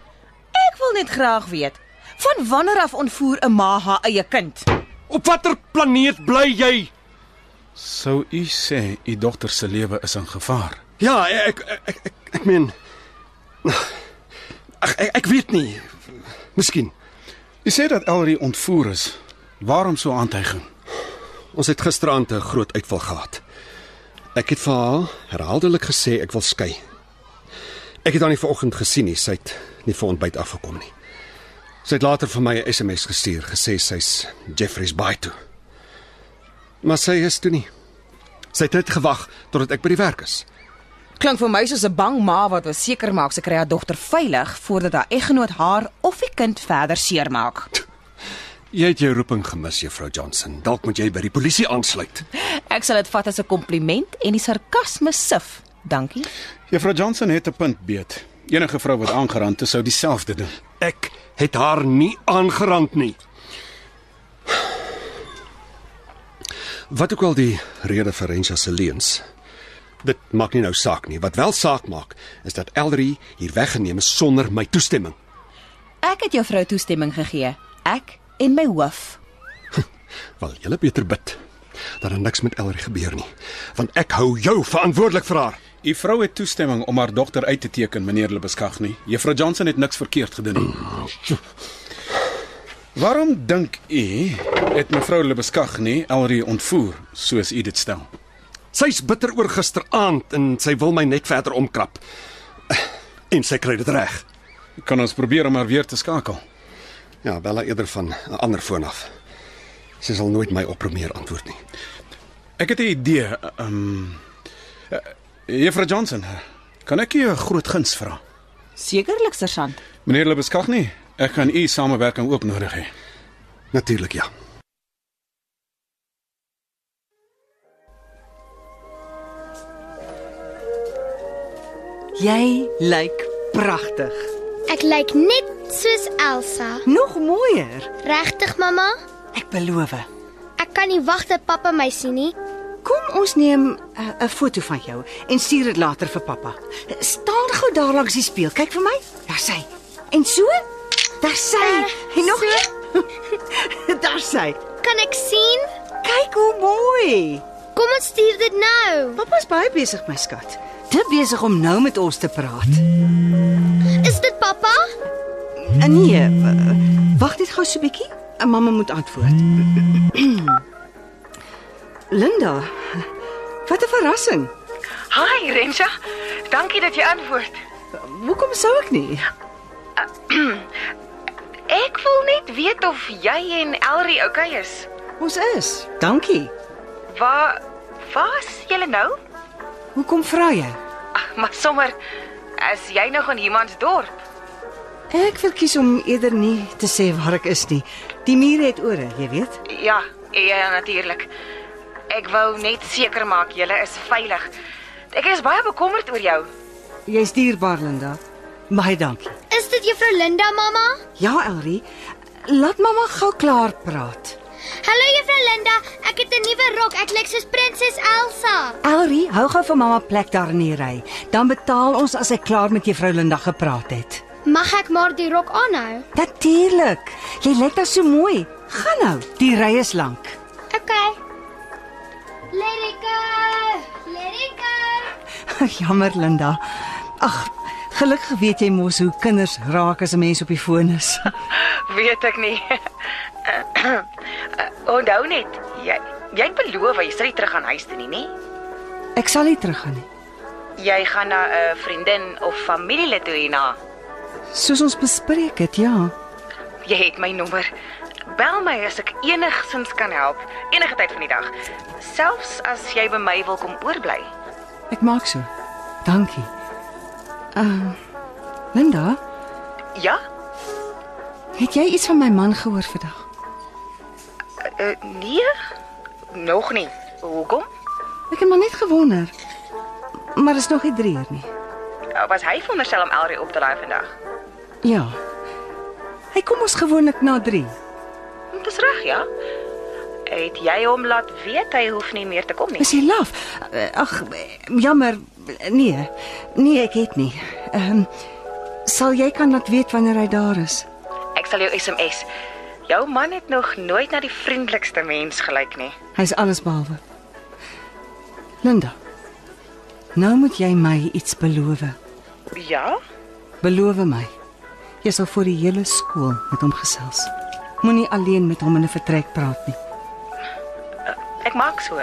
[SPEAKER 5] Ek wil net graag weet, van wanneer af ontvoer 'n ma haar eie kind?
[SPEAKER 4] Op watter planeet bly jy?
[SPEAKER 8] Sou u sê u dogter se lewe is in gevaar?
[SPEAKER 4] Ja, ek ek ek ek, ek meen Ag ek, ek weet nie. Miskien.
[SPEAKER 8] U sê dat Elrie ontvoer is. Waarom so aantuiging?
[SPEAKER 4] Ons het gisteraand 'n groot uitval gehad. Ek het vir haar herhaaldelik gesê ek wil skei. Ek het haar nie vanoggend gesien nie, sy het nie vir ontbyt afgekom nie. Sy het later vir my 'n SMS gestuur, gesê sy's Jeffrey's Bay toe. Maar sy is toe nie. Sy het net gewag totdat ek by die werk is.
[SPEAKER 5] Klink vir my soos 'n bang ma wat wil seker maak sy kry haar dogter veilig voordat haar eggenoot haar of die kind verder seermaak.
[SPEAKER 4] Jy het jou roeping gemis, Juffrou Johnson. Dalk moet jy by die polisie aansluit.
[SPEAKER 5] Ek sal dit vat as 'n kompliment en die sarkasme sif. Dankie.
[SPEAKER 8] Juffrou Johnson het 'n punt beet. Enige vrou wat aangerand is, sou dieselfde doen.
[SPEAKER 4] Ek het haar nie aangerand nie. Wat ook al die rede vir Rensha se leuns. Dit maak nie nou saak nie. Wat wel saak maak, is dat Eldery hier weggeneem is sonder my toestemming.
[SPEAKER 9] Ek het jou vrou toestemming gegee. Ek en my hoof.
[SPEAKER 4] Wel, jy beter bid dat daar niks met Ellery gebeur nie, want ek hou jou verantwoordelik vir haar.
[SPEAKER 8] U vrou het toestemming om haar dogter uit te teken, meneer Lebeskagni. Juffrou Johnson het niks verkeerd gedoen nie. Waarom dink u het mevrou Lebeskagni Elrie ontvoer soos u dit stel?
[SPEAKER 4] Sy's bitter oor gisteraand en sy wil my net verder omkrap. En sy kry dit reg.
[SPEAKER 8] Kan ons probeer om haar weer te skakel?
[SPEAKER 4] Ja, bel haar eerder van 'n ander foon af. Sy sal nooit my oproep meer antwoord nie.
[SPEAKER 8] Ek het 'n idee. Ehm um, eh, Juffrou Johnson, kan ek u 'n groot guns vra?
[SPEAKER 9] Sekerlik, sergeant.
[SPEAKER 8] Meneer Lebeskagni, ek gaan u samewerking ook nodig hê.
[SPEAKER 4] Natuurlik ja.
[SPEAKER 2] Jy lyk pragtig.
[SPEAKER 3] Ek lyk net soos Elsa.
[SPEAKER 2] Nog mooier.
[SPEAKER 3] Regtig, mamma?
[SPEAKER 2] Ek beloof.
[SPEAKER 3] Ek kan nie wag dat pappa my sien nie.
[SPEAKER 2] Kom ons neem 'n uh, foto van jou en stuur dit later vir pappa. Staan gou daar langs die spieël. Kyk vir my. Daar sy. En so? Daar sy.
[SPEAKER 3] Eh,
[SPEAKER 2] en nog
[SPEAKER 3] so?
[SPEAKER 2] een. daar sy.
[SPEAKER 3] Kan ek sien?
[SPEAKER 2] Kyk hoe mooi.
[SPEAKER 3] Kom ons stuur dit nou.
[SPEAKER 2] Pappa's baie besig, my skat. Te besig om nou met ons te praat.
[SPEAKER 3] Is dit pappa?
[SPEAKER 2] En nee, eh, wag net gou so 'n bietjie. En Mamma moet antwoord. Linda, wat 'n verrassing.
[SPEAKER 7] Hi Rensha. Dankie dat jy antwoord.
[SPEAKER 2] Hoekom sou ek nie?
[SPEAKER 7] Ek wil net weet of jy en Elrie oukei okay is.
[SPEAKER 2] Ons is. Dankie.
[SPEAKER 7] Waar was julle nou?
[SPEAKER 2] Hoekom vra jy?
[SPEAKER 7] Ag, maar sommer as jy nog in iemands dorp.
[SPEAKER 2] Ek verkies om eerder nie te sê waar ek is nie. Die mure het ore, jy weet.
[SPEAKER 7] Ja, ja natuurlik. Ek wou net seker maak julle is veilig. Ek is baie bekommerd oor jou.
[SPEAKER 2] Jy's dierbaar, Linda. Baie dankie.
[SPEAKER 3] Is dit juffrou Linda, mamma?
[SPEAKER 2] Ja, Elrie, laat mamma gou klaar praat.
[SPEAKER 3] Hallo juffrou Linda, ek het 'n nuwe rok. Ek lyk soos prinses Elsa.
[SPEAKER 2] Elrie, hou gou vir mamma plek daar in die ry. Dan betaal ons as ek klaar met juffrou Linda gepraat het.
[SPEAKER 3] Mag ek maar die rok aanhou?
[SPEAKER 2] Natuurlik. Jy lyk daar so mooi. Gaan nou, die ry is lank.
[SPEAKER 3] Okay. Let it go. Let it go.
[SPEAKER 2] Jammer, Linda. Ag, gelukkig weet jy mos hoe kinders raak as 'n mens op die foon is.
[SPEAKER 7] Weet ek nie. Eh, Onthou net, jy jy het beloof jy sal nie terug aan huis toe nie, nee? nê?
[SPEAKER 2] Ek sal nie teruggaan nie.
[SPEAKER 7] Jy gaan na 'n vriendin of familielid toe hierna.
[SPEAKER 2] Soos ons bespreek het, ja.
[SPEAKER 7] Jy het my nommer. Bel my as ek enigsins kan help, enige tyd van die dag. Selfs as jy by my wil kom oorbly.
[SPEAKER 2] Ek maak so. Dankie. Ehm uh, Linda,
[SPEAKER 7] Ja?
[SPEAKER 2] het jy iets van my man gehoor vandag?
[SPEAKER 7] Uh, nee. Nog nie. Hoekom?
[SPEAKER 2] Ek het maar net gewonder. Maar is nog nie 3 uur nie.
[SPEAKER 7] Uh, Was hy veronderstel om Elrie op te laai vandag?
[SPEAKER 2] Ja. Hy kom ons gewoonlik na 3.
[SPEAKER 7] Dit is reg, ja. Het jy hom laat weet hy hoef nie meer te kom nie?
[SPEAKER 2] Is hy laf? Eh, Ag, eh, jammer. Nee. Nee, ek het nie. Ehm um, sal jy kan laat weet wanneer hy daar is?
[SPEAKER 7] Ek sal jou SMS. Jou man het nog nooit na die vriendelikste mens gelyk nie.
[SPEAKER 2] Hy's alles behalwe. Linda. Nou moet jy my iets beloof.
[SPEAKER 7] Ja?
[SPEAKER 2] Beloof my. Jy sal vir die hele skool met hom gesels. Moenie alleen met hom in 'n vertrek praat nie.
[SPEAKER 7] Ek maak so.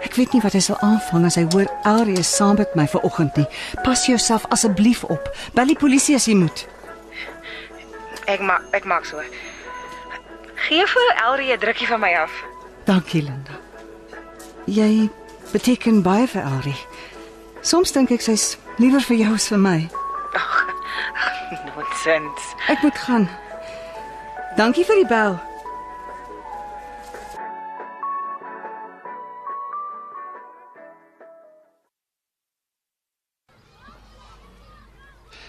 [SPEAKER 2] Ek weet nie wat hy sal aanvang as hy hoor Elrie is saam met my vanoggend nie. Pas jouself asseblief op. Bel die polisie as jy moet.
[SPEAKER 7] Ek maak ek maak so. Geef vir Elrie 'n drukkie van my af.
[SPEAKER 2] Dankie, Linda. Jy beteken baie vir Elrie. Soms dink ek sy's liewer vir jou as vir my.
[SPEAKER 7] Ag. Nonsens.
[SPEAKER 2] Ek moet gaan. Dankie vir die bel.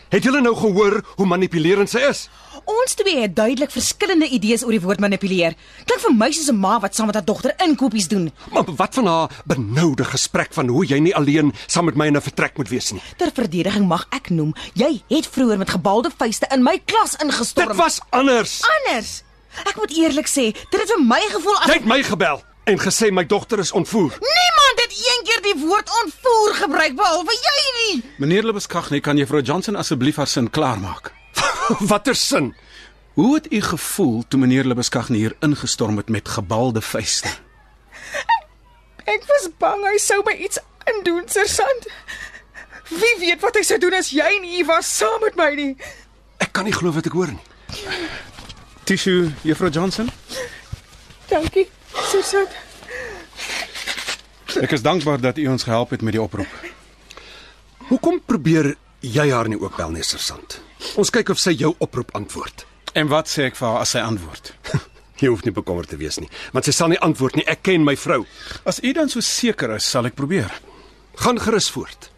[SPEAKER 4] Het julle nou gehoor hoe manipulerend sy is?
[SPEAKER 5] Ons twee het duidelik verskillende idees oor die woord manipuleer. Klink vir my soos 'n ma wat saam met haar dogter inkopies doen,
[SPEAKER 4] Maar wat van haar benoude gesprek van hoe jy nie alleen saam met my in 'n vertrek moet wees nie.
[SPEAKER 5] Ter verdediging mag ek noem, jy het vroeër met gebalde vuiste in my klas ingestorm.
[SPEAKER 4] Dit was anders.
[SPEAKER 5] anders. Ek moet eerlik sê, dit het vir my gevoel as
[SPEAKER 4] Jy het my gebel en gesê my dogter is ontvoer.
[SPEAKER 5] niemand het eendag die woord ontvoer gebruik behalwe jy nie.
[SPEAKER 8] Meneer Lebeskagne, kan juffrou Johnson asseblief haar sin klaarmaak?
[SPEAKER 4] Watter sin?
[SPEAKER 8] Hoe het u gevoel toe meneer Lebeskagne hier ingestorm het met gebalde vuiste?
[SPEAKER 5] Ek was bang hy sou my iets aandoen, sergeant. Wie weet wat hy sou doen as jy nie hier was saam met my nie.
[SPEAKER 4] Ek kan nie glo wat ek hoor nie.
[SPEAKER 8] Tissue, juffrou Johnson?
[SPEAKER 5] Dankie, sergeant.
[SPEAKER 8] Ek is dankbaar dat u ons gehelp het met die oproep.
[SPEAKER 4] Hoekom probeer jy haar nie ook bel nie, sergeant? Ons kyk of sy jou oproep antwoord.
[SPEAKER 8] En wat sê ek vir haar as sy antwoord?
[SPEAKER 4] Jy hoef nie bekommerd te wees nie, want sy sal nie antwoord nie. Ek ken my vrou.
[SPEAKER 8] As u dan so seker is, sal ek probeer.
[SPEAKER 4] Gaan gerus voort.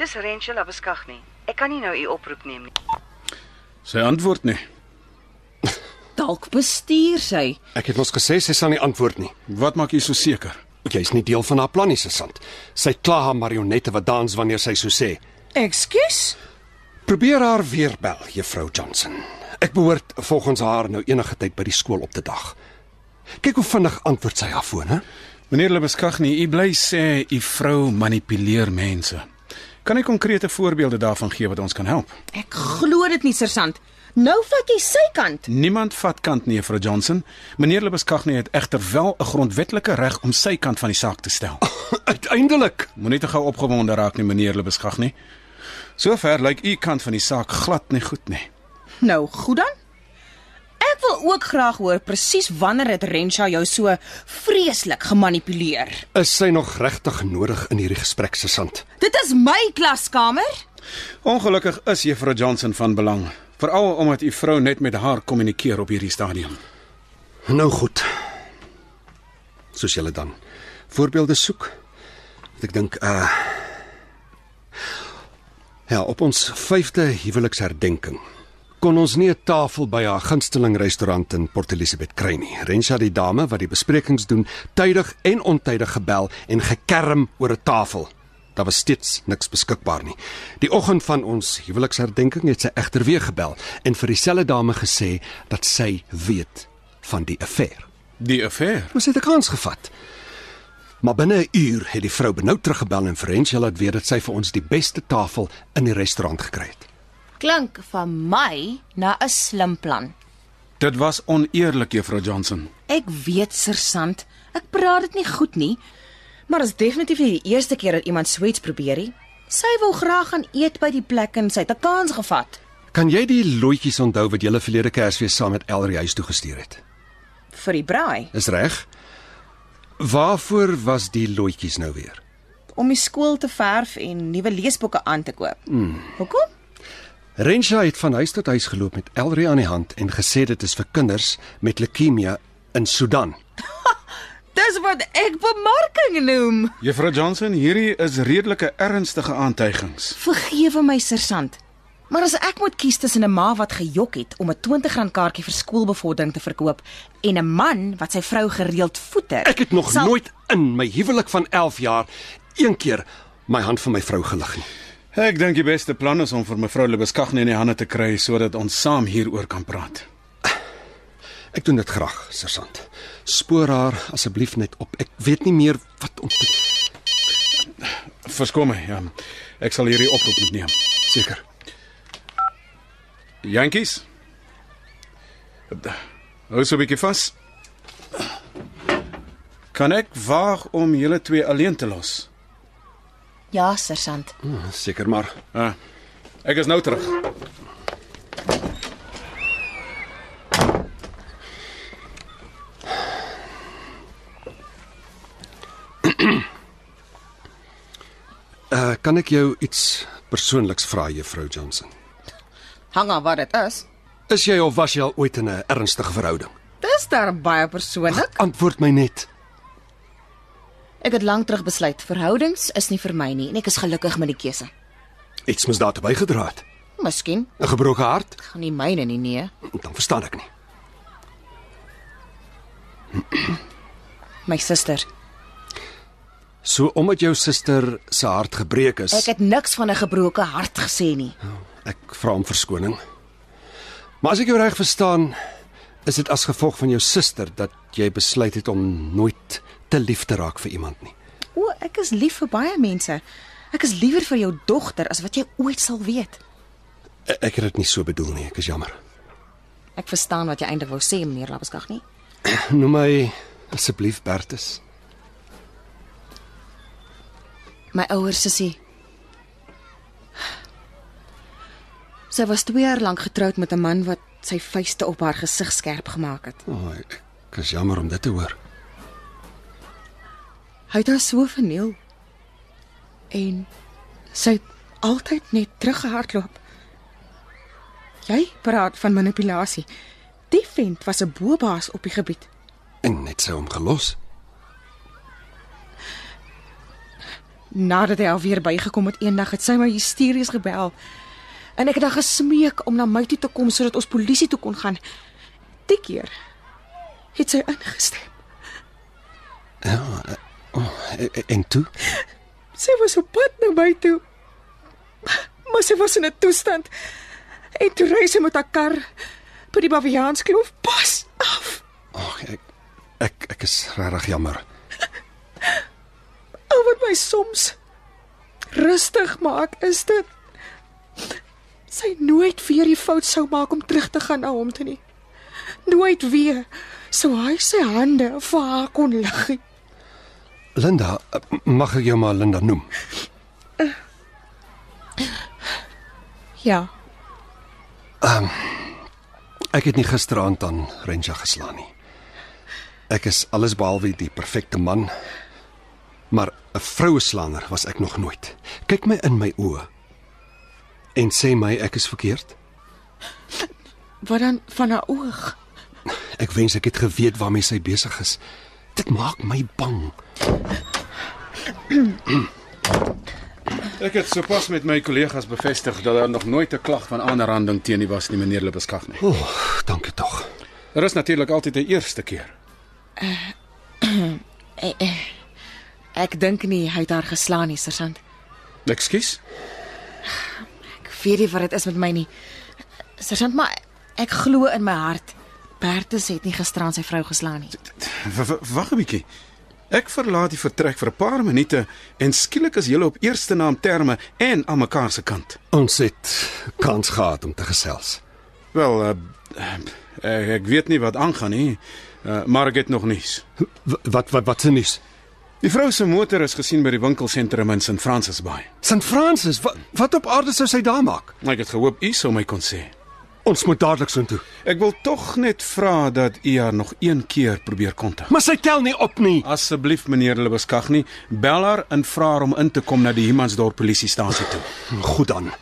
[SPEAKER 7] Dis Rachel Labeskagne. Ek kan nie nou u oproep neem nie.
[SPEAKER 8] Sy antwoord nee. nie.
[SPEAKER 9] Dalk bestuur sy.
[SPEAKER 4] Ek het mos gesê sy sal nie antwoord nie.
[SPEAKER 8] Wat maak u so seker?
[SPEAKER 4] Jy's nie deel van haar plan nie, sergeant. Sy kla haar marionette wat dans wanneer sy so sê.
[SPEAKER 5] Ekskuus.
[SPEAKER 4] Probeer haar weer bel, juffrou Johnson. Ek behoort volgens haar nou enige tyd by die skool op te dag. Kyk hoe vinnig antwoord sy haar foon, hè?
[SPEAKER 8] Meneer Lebeskagne, u bly sê u vrou manipuleer mense. Kan u konkrete voorbeelde daarvan gee wat ons kan help?
[SPEAKER 5] Ek glo dit nie, sergeant. Nou vat jy sy kant.
[SPEAKER 8] Niemand vat kant nie, juffrou Johnson. Meneer Lebeskagne het egter wel 'n grondwetlike reg om sy kant van die saak te stel.
[SPEAKER 4] Uiteindelik.
[SPEAKER 8] Moenie te gou opgewonde raak nie, meneer Lebeskagne. Sover lyk u kant van die saak glad nie goed nie.
[SPEAKER 5] Nou, goed dan. Ek wil ook graag hoor presies wanneer het Rensha jou so vreeslik gemanipuleer.
[SPEAKER 4] Is sy nog regtig nodig in hierdie gesprek, sergeant?
[SPEAKER 5] Dit is my klaskamer.
[SPEAKER 8] Ongelukkig is juffrou Johnson van belang, veral omdat u vrou net met haar kommunikeer op hierdie stadium.
[SPEAKER 4] Nou goed. Soos julle dan voorbeelde soek. want Ek dink uh Ja, op ons 5de huweliksherdenking kon ons nie 'n tafel by haar gunsteling restaurant in Port Elizabeth kry nie. Rensha die dame wat die besprekings doen, tydig en ontydig gebel en gekerm oor 'n tafel. Daar was steeds niks beskikbaar nie. Die oggend van ons huweliksherdenking het sy egter weer gebel en vir dieselfde dame gesê dat sy weet van die affære.
[SPEAKER 8] Die affære.
[SPEAKER 4] Ons het 'n kans gevat. Maar binne 'n uur het die vrou benou teruggebel en Ferentia laat weet dat sy vir ons die beste tafel in die restaurant gekry het.
[SPEAKER 9] Klink van my na 'n slim plan.
[SPEAKER 8] Dit was oneerlik, juffrou Johnson.
[SPEAKER 9] Ek weet, sergeant, ek praat dit nie goed nie.
[SPEAKER 5] Maar is definitief nie die eerste keer dat iemand so iets probeer nie. Sy wou graag gaan eet by die plek en sy het 'n kans gevat.
[SPEAKER 4] Kan jy die loetjies onthou wat jy verlede Kersfees saam met Elrie huis toe gestuur het?
[SPEAKER 5] vir die braai
[SPEAKER 4] Is reg? Waarvoor was die loetjies nou weer?
[SPEAKER 5] om die skool te verf en nuwe leesboeke aan te koop. Mm. Hoekom?
[SPEAKER 4] Rensha het van huis tot huis geloop met Elrie aan die hand en gesê dit is vir kinders met leukemie in Sudan.
[SPEAKER 5] Dis wat ek bemarking noem.
[SPEAKER 8] Juffrou Johnson, hierdie is redelike ernstige aantuigings.
[SPEAKER 5] Vergewe my, sergeant. Maar as ek moet kies tussen 'n ma wat gejok het om 'n R20 kaartjie vir skoolbevordering te verkoop en 'n man wat sy vrou gereeld voeter.
[SPEAKER 4] Ek het nog
[SPEAKER 5] sal-
[SPEAKER 4] nooit in my huwelik van 11 jaar een keer my hand van my vrou gelig nie.
[SPEAKER 8] Ek dink die beste plan is om vir mevrou Lebeskagne in die hande te kry sodat ons saam hieroor kan praat.
[SPEAKER 4] Ek doen dit graag, sergeant. Spoor haar asseblief net op. Ek weet nie meer wat om te
[SPEAKER 8] Verskoon my, ja. Ek sal hierdie oproep moet neem.
[SPEAKER 4] seker.
[SPEAKER 8] Jantjies. Hou so 'n bietjie vas. Kan ek waag om julle twee alleen te los?
[SPEAKER 9] Ja, sergeant.
[SPEAKER 4] Seker maar.
[SPEAKER 8] Ah, ek is nou terug.
[SPEAKER 4] Uh kan ek Eh, jou iets persoonliks vra juffrou Johnson.
[SPEAKER 5] Hang aan wat dit is.
[SPEAKER 4] Is jy of was jy al ooit in 'n ernstige verhouding?
[SPEAKER 5] Dis daar baie persoonlik.
[SPEAKER 4] Antwoord my net.
[SPEAKER 5] Ek het lank terug besluit verhoudings is nie vir my nie en ek is gelukkig met die keuse.
[SPEAKER 4] Iets moes daartoe bygedra het.
[SPEAKER 5] Miskien
[SPEAKER 4] 'n Gebroke hart?
[SPEAKER 5] gaan nie myne nie nee.
[SPEAKER 4] Dan verstaan ek nie.
[SPEAKER 5] My suster.
[SPEAKER 4] So omdat jou suster se hart gebreek is.
[SPEAKER 5] Ek het niks van 'n gebroke hart gesê nie.
[SPEAKER 4] Ek vra om verskoning. Maar as ek jou reg verstaan, is dit as gevolg van jou suster dat jy besluit het om nooit te lief te raak vir iemand nie.
[SPEAKER 5] O, ek is lief vir baie mense. Ek is liever vir jou dogter as wat jy ooit sal weet.
[SPEAKER 4] E- Ek het dit nie so bedoel nie, ek is jammer.
[SPEAKER 5] Ek verstaan wat jy eintlik wou sê, meneer Labeskag nie.
[SPEAKER 4] Noem my asseblief Bertus.
[SPEAKER 5] My ouer sussie. Sy was 2 jaar lank getroud met 'n man wat sy vuiste op haar gesig skerp gemaak het.
[SPEAKER 4] O, oh, ek ek is jammer om dit te hoor.
[SPEAKER 5] Hy het haar so verniel. En sy het altyd net teruggehardloop. Jy praat van manipulasie. Die vent was 'n bobaas op die gebied.
[SPEAKER 4] En net sy hom gelos.
[SPEAKER 5] Nadat hy alweer bygekom het eendag het sy my hysteries gebel. En ek het haar gesmeek om na my toe te kom sodat ons polisie toe kon gaan. Die keer het sy ingestem.
[SPEAKER 4] E- e- En toe?
[SPEAKER 5] Sy was op pad na my toe. Maar sy was in 'n toestand. En toe ry sy met haar kar by die Baviaanskloof pas af.
[SPEAKER 4] Ag, ek ek ek is regtig jammer.
[SPEAKER 5] Al Nou wat my soms rustig maak is dit sy nooit weer die fout sou maak om terug te gaan na hom toe nie. Nooit weer sou hy sy hande vir haar kon lig. nie.
[SPEAKER 4] Linda, mag ek jou maar Linda noem?
[SPEAKER 5] Ja,
[SPEAKER 4] Ek het nie gisteraand aan Renja geslaan nie. Ek is allesbehalwe die perfekte man. Maar 'n vroueslanger was ek nog nooit. Kyk my in my oë en sê my ek is verkeerd.
[SPEAKER 5] wat dan van haar oog?
[SPEAKER 4] Ek wens ek het geweet waarmee sy besig is. Dit maak my bang.
[SPEAKER 8] Ek het sopas met my kollegas bevestig dat daar nog nooit 'n klag van aanranding teen u was nie, meneer Lebeskag nie.
[SPEAKER 4] O, oh, dankie tog.
[SPEAKER 8] Daar is natuurlik altyd 'n eerste keer.
[SPEAKER 5] Ek dink nie hy het haar geslaan nie, sergeant.
[SPEAKER 8] Ekskuus?
[SPEAKER 5] Ek weet nie wat dit is met my nie. Sergeant, maar ek glo in my hart. Bertus het nie gisteraan sy vrou geslaan nie.
[SPEAKER 8] W- w- Wag 'n bietjie. Ek verlaat die vertrek vir 'n paar minute en skielik is julle op eerste naam terme en aan mekaar se kant.
[SPEAKER 4] Ons het kans gehad om te gesels.
[SPEAKER 8] Wel, eh, eh, ek weet nie wat aangaan nie, eh, maar ek het nog nuus.
[SPEAKER 4] W wat wat wat se nuus?
[SPEAKER 8] Die vrou se motor is gesien by die winkelsentrum in St. Francis Bay.
[SPEAKER 4] St. Francis, wat, wat op aarde sou sy daar maak?
[SPEAKER 8] Ek het gehoop u sou my kon sê.
[SPEAKER 4] Ons moet dadelik soontoe.
[SPEAKER 8] Ek wil tog net vra dat u haar nog een keer probeer kontak.
[SPEAKER 4] Maar sy tel nie op nie.
[SPEAKER 8] Asseblief meneer Lebeskagni, bel haar en vra haar om in te kom na die Humansdorp polisiestasie toe.
[SPEAKER 4] Goed dan.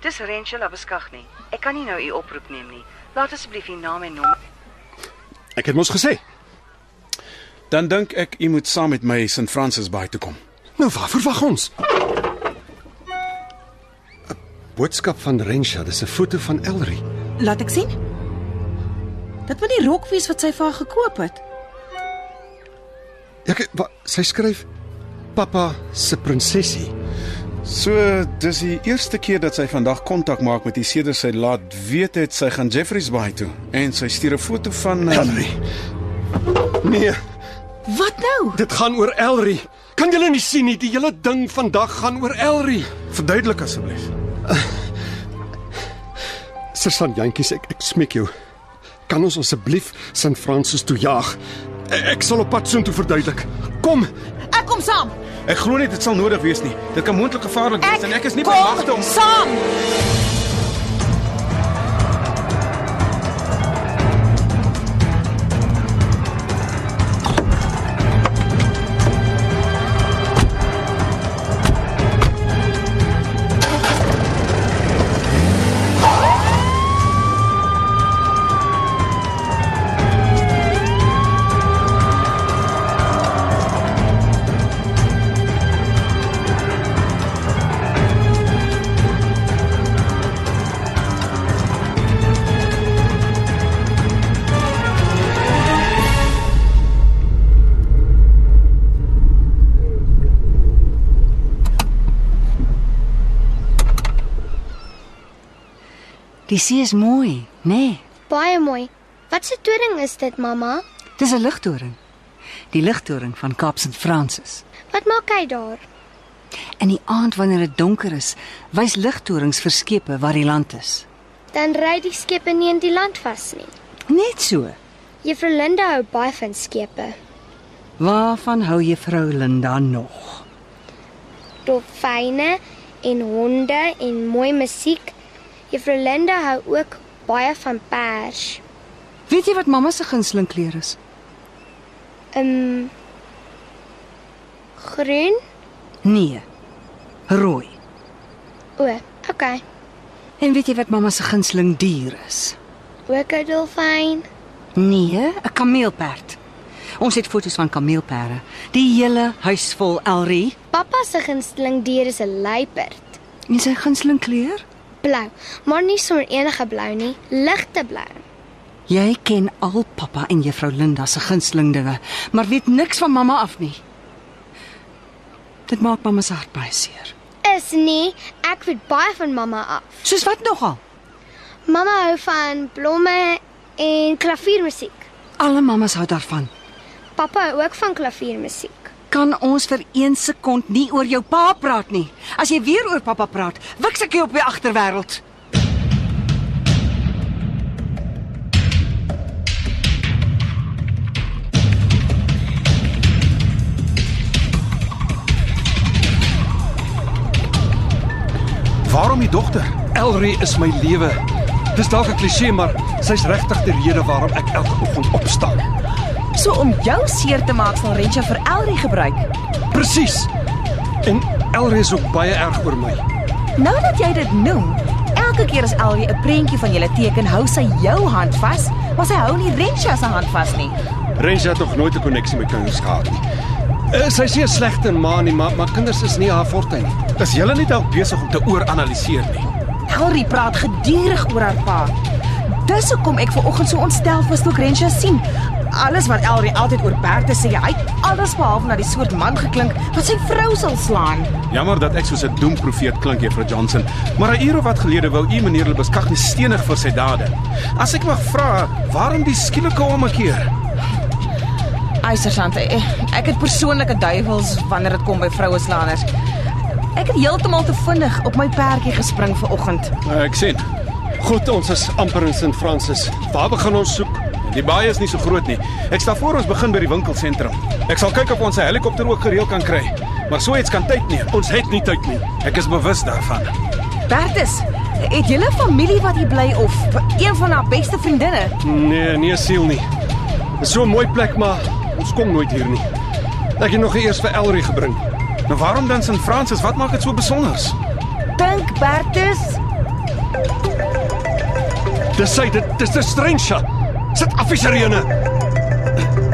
[SPEAKER 6] Dis Rensel Labeskagni. Ek kan nie nou u oproep neem nie. Laat asseblief u naam en nommer.
[SPEAKER 4] Ek het mos gesê.
[SPEAKER 8] Dan dink ek u moet saam met my St. Francis Bay toe kom.
[SPEAKER 4] Nou waar verwag ons? 'n Boodskap van Rensha, dis 'n foto van Elry.
[SPEAKER 5] Laat ek sien. Dit moet die rok wees wat sy vir haar gekoop het.
[SPEAKER 4] Ek wa, sy skryf Pappa se prinsesie.
[SPEAKER 8] So, dis die eerste keer dat sy vandag kontak maak met u sedert sy laat weet het sy gaan Jeffreys Bay toe en sy stuur 'n foto van eh,
[SPEAKER 4] Elry. Nee,
[SPEAKER 5] Wat nou?
[SPEAKER 4] dit gaan oor Elry. Kan julle nie sien nie, die hele ding vandag gaan oor Elry.
[SPEAKER 8] Verduidelik asseblief.
[SPEAKER 4] Sergeant Jantjies, ek, ek smeek jou. Kan ons asseblief St. Francis toe jaag? E- Ek sal op pad soontoe verduidelik. Kom,
[SPEAKER 5] Ek kom saam.
[SPEAKER 8] Ek glo nie dit sal nodig wees nie. Dit kan moontlik gevaarlik wees en ek is nie bemagtig om
[SPEAKER 5] saam.
[SPEAKER 10] Die see is mooi, nê? Nee,
[SPEAKER 3] Baie mooi. Wat se toring is dit, mamma?
[SPEAKER 10] dis 'n ligtoring. Die ligtoring van Kaap St. Francis.
[SPEAKER 3] Wat maak hy daar?
[SPEAKER 10] In die aand wanneer dit donker is, wys ligtorings vir skepe waar die land is.
[SPEAKER 3] Dan ry die skepe nie in die land vas nie.
[SPEAKER 10] Net so.
[SPEAKER 3] Juffrou Linda hou baie van skepe.
[SPEAKER 10] Waarvan hou juffrou Linda nog?
[SPEAKER 3] Dolfyne en honde en mooi musiek. Juffrou Linda hou ook baie van pers.
[SPEAKER 10] Weet jy wat mamma se gunsteling kleur is?
[SPEAKER 3] Um groen?
[SPEAKER 10] Nee. Rooi.
[SPEAKER 3] O, okay.
[SPEAKER 10] En weet jy wat mamma se gunsteling dier is?
[SPEAKER 3] Ook 'n dolfyn.
[SPEAKER 10] Nee, 'n kameelperd. Ons het foto's van kameelperde. Die hele huis vol Elrie.
[SPEAKER 3] Pappa se gunsteling dier is 'n luiperd.
[SPEAKER 10] En sy gunsteling kleur?
[SPEAKER 3] Blou, maar nie sommer enige blou nie, ligte blou.
[SPEAKER 10] Jy ken al pappa en juffrou Linda se gunsteling dinge, maar weet niks van mamma af nie. Dit maak mamma se hart baie seer.
[SPEAKER 3] Is nie, ek weet baie van mamma af.
[SPEAKER 10] Soos wat nogal?
[SPEAKER 3] Mamma hou van blomme en klaviermusiek.
[SPEAKER 10] Alle mammas hou daarvan.
[SPEAKER 3] Pappa hou ook van klaviermusiek.
[SPEAKER 10] Kan ons vir 1 sekond nie oor jou pa praat nie? As jy weer oor pappa praat, wiks ek jou op die agterwêreld.
[SPEAKER 8] Waarom die dogter?
[SPEAKER 4] Elrie is my lewe. Dis dalk 'n klise, maar sy's regtig die rede waarom ek elke oggend opstaan.
[SPEAKER 5] So om jou seer te maak sal Renja vir Elrie gebruik.
[SPEAKER 4] Presies. En Elrie is ook baie erg oor my.
[SPEAKER 5] Nou dat jy dit noem, elke keer as Elrie 'n prentjie van julle teken, hou sy jou hand vas, maar sy hou nie Renja se hand vas nie.
[SPEAKER 4] Rens het nog nooit 'n koneksie met kinders gehad nie. Uh, sy sê slegte ma nie, maar maar kinders is nie haar forte nie.
[SPEAKER 8] Is julle nie dalk besig om te ooranaliseer nie?
[SPEAKER 5] Elrie praat gedurig oor haar pa. Dis hoekom ek ver oggend so ontstel was toe ek Rensha sien. Alles wat Elrie altyd oor Bertha sê, hy het alles behalwe na die soort man geklink wat sy vrou sal slaan.
[SPEAKER 8] Jammer dat ek soos 'n doemprofeet klink, Juffrou Johnson, maar 'n uur of wat gelede wou u meneer Lebeskag nie stenig vir sy dade. As ek mag vra, waarom die skielike ommekeer?
[SPEAKER 5] Eisersand, eh, ek het persoonlike duiwels wanneer dit kom by vroue slaanders. Ek het heeltemal te vinnig op my perdjie gespring ver oggend.
[SPEAKER 8] Uh, ek sien.
[SPEAKER 4] Goed, ons is amper in St. Francis. Waar begin ons soek?
[SPEAKER 8] Die baai is nie so groot nie. Ek stel voor ons begin by die winkelsentrum. Ek sal kyk of ons 'n helikopter ook gereël kan kry. Maar so iets kan tyd neem.
[SPEAKER 4] Ons het nie tyd nie.
[SPEAKER 8] Ek is bewus daarvan.
[SPEAKER 5] Bertus, het julle familie wat hier bly of een van haar beste vriendinne?
[SPEAKER 4] Nee, nee siel nie. Dis so 'n mooi plek, maar ons kom nooit hier nie. Ek het nog eers vir Elrie gebring.
[SPEAKER 8] Nou waarom dan St. Francis? Wat maak dit so besonder?
[SPEAKER 5] Dink Bertus,
[SPEAKER 4] Dis sy, dit dis 'n strengtha. Sit af die sirene.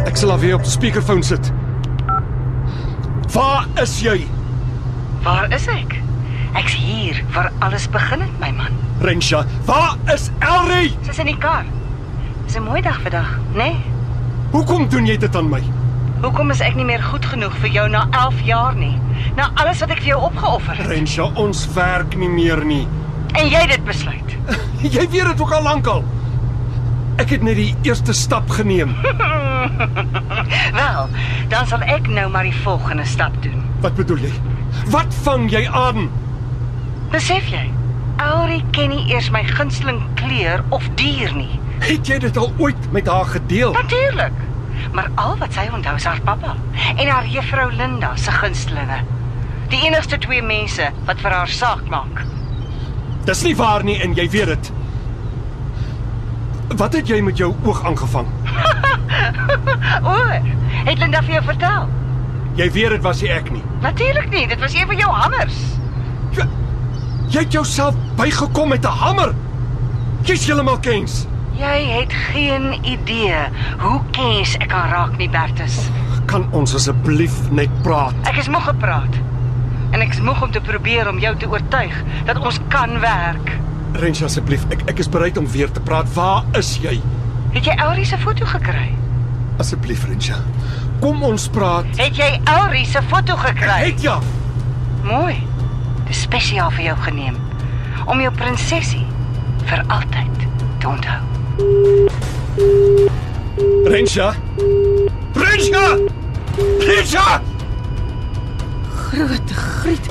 [SPEAKER 4] Ek sal haar weer op die speakerfoon sit. Waar is jy?
[SPEAKER 2] Waar is ek? Ek's hier waar alles begin het, my man.
[SPEAKER 4] Rensha, waar is Elrie?
[SPEAKER 2] Sy's in die kar. Dis 'n mooi dag vandag, né? Nee?
[SPEAKER 4] Hoekom doen jy dit aan my?
[SPEAKER 2] Hoekom is ek nie meer goed genoeg vir jou na 11 jaar nie? Na alles wat ek vir jou opgeoffer het
[SPEAKER 4] Rensha, ons werk nie meer nie.
[SPEAKER 2] en jy dit besluit.
[SPEAKER 4] Jy weet dit ook al lankal. Ek het net die eerste stap geneem.
[SPEAKER 2] Wel, dan sal ek nou maar die volgende stap doen.
[SPEAKER 4] Wat bedoel jy? Wat vang jy aan?
[SPEAKER 2] Besef jy? Aurie ken nie eers my gunsteling kleur of dier nie.
[SPEAKER 4] Het jy dit al ooit met haar gedeel?
[SPEAKER 2] Natuurlik. Maar al wat sy onthou is haar pappa en haar juffrou Linda se gunstelinge. Die enigste twee mense wat vir haar saak maak.
[SPEAKER 4] Dis nie waar nie en jy weet dit. Wat het jy met jou oog aangevang?
[SPEAKER 2] O, het Linda vir jou vertel?
[SPEAKER 4] Jy weet dit was nie ek nie.
[SPEAKER 2] Natuurlik nie, dit was een van jou hammers.
[SPEAKER 4] Jy, jy het jouself bygekom met 'n hamer. Jy's heeltemal kens.
[SPEAKER 2] Jy het geen idee hoe kens ek kan raak nie, Bertus.
[SPEAKER 4] Kan ons asseblief net praat?
[SPEAKER 2] Ek is moeg gepraat. En ek is moeg om te probeer om jou te oortuig dat ons kan werk.
[SPEAKER 4] Rensha asseblief, ek ek is bereid om weer te praat. Waar is jy?
[SPEAKER 2] Het jy Aurie se foto gekry?
[SPEAKER 4] Asseblief, Rensha. Kom ons praat.
[SPEAKER 2] Het jy Aurie se foto gekry?
[SPEAKER 4] Het ja.
[SPEAKER 2] Mooi. Dis spesiaal vir jou geneem om jou prinsesie
[SPEAKER 6] vir altyd te onthou.
[SPEAKER 4] Rensha. Rensha! Rensha!
[SPEAKER 5] Grote griet.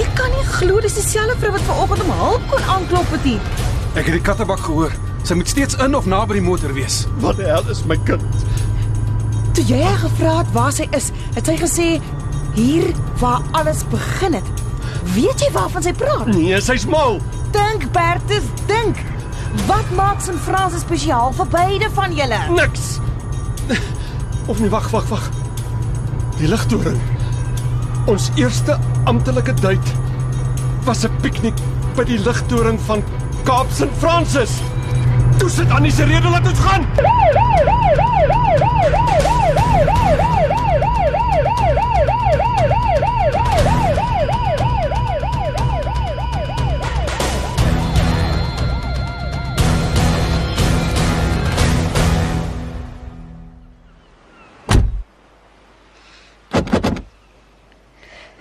[SPEAKER 5] Ek kan nie glo dis dieselfde vrou wat vanoggend om hulp kon aanklop het nie.
[SPEAKER 8] Ek het die kattebak gehoor. Sy moet steeds in of naby die motor wees.
[SPEAKER 4] Wat die hel is my kind?
[SPEAKER 5] Toe jy haar gevra het waar sy is, het sy gesê hier waar alles begin het. Weet jy waarvan sy praat?
[SPEAKER 4] Nee, sy's mal.
[SPEAKER 5] Dink Bertus, dink. Wat maak St. Francis spesiaal vir beide van julle?
[SPEAKER 4] Niks. Of nee, wag, wag, wag. Die ligtoring. Ons eerste amptelike duit was 'n piknik by die ligtoring van Kaap St. Francis. Toe sit Annie se rede laat ons gaan.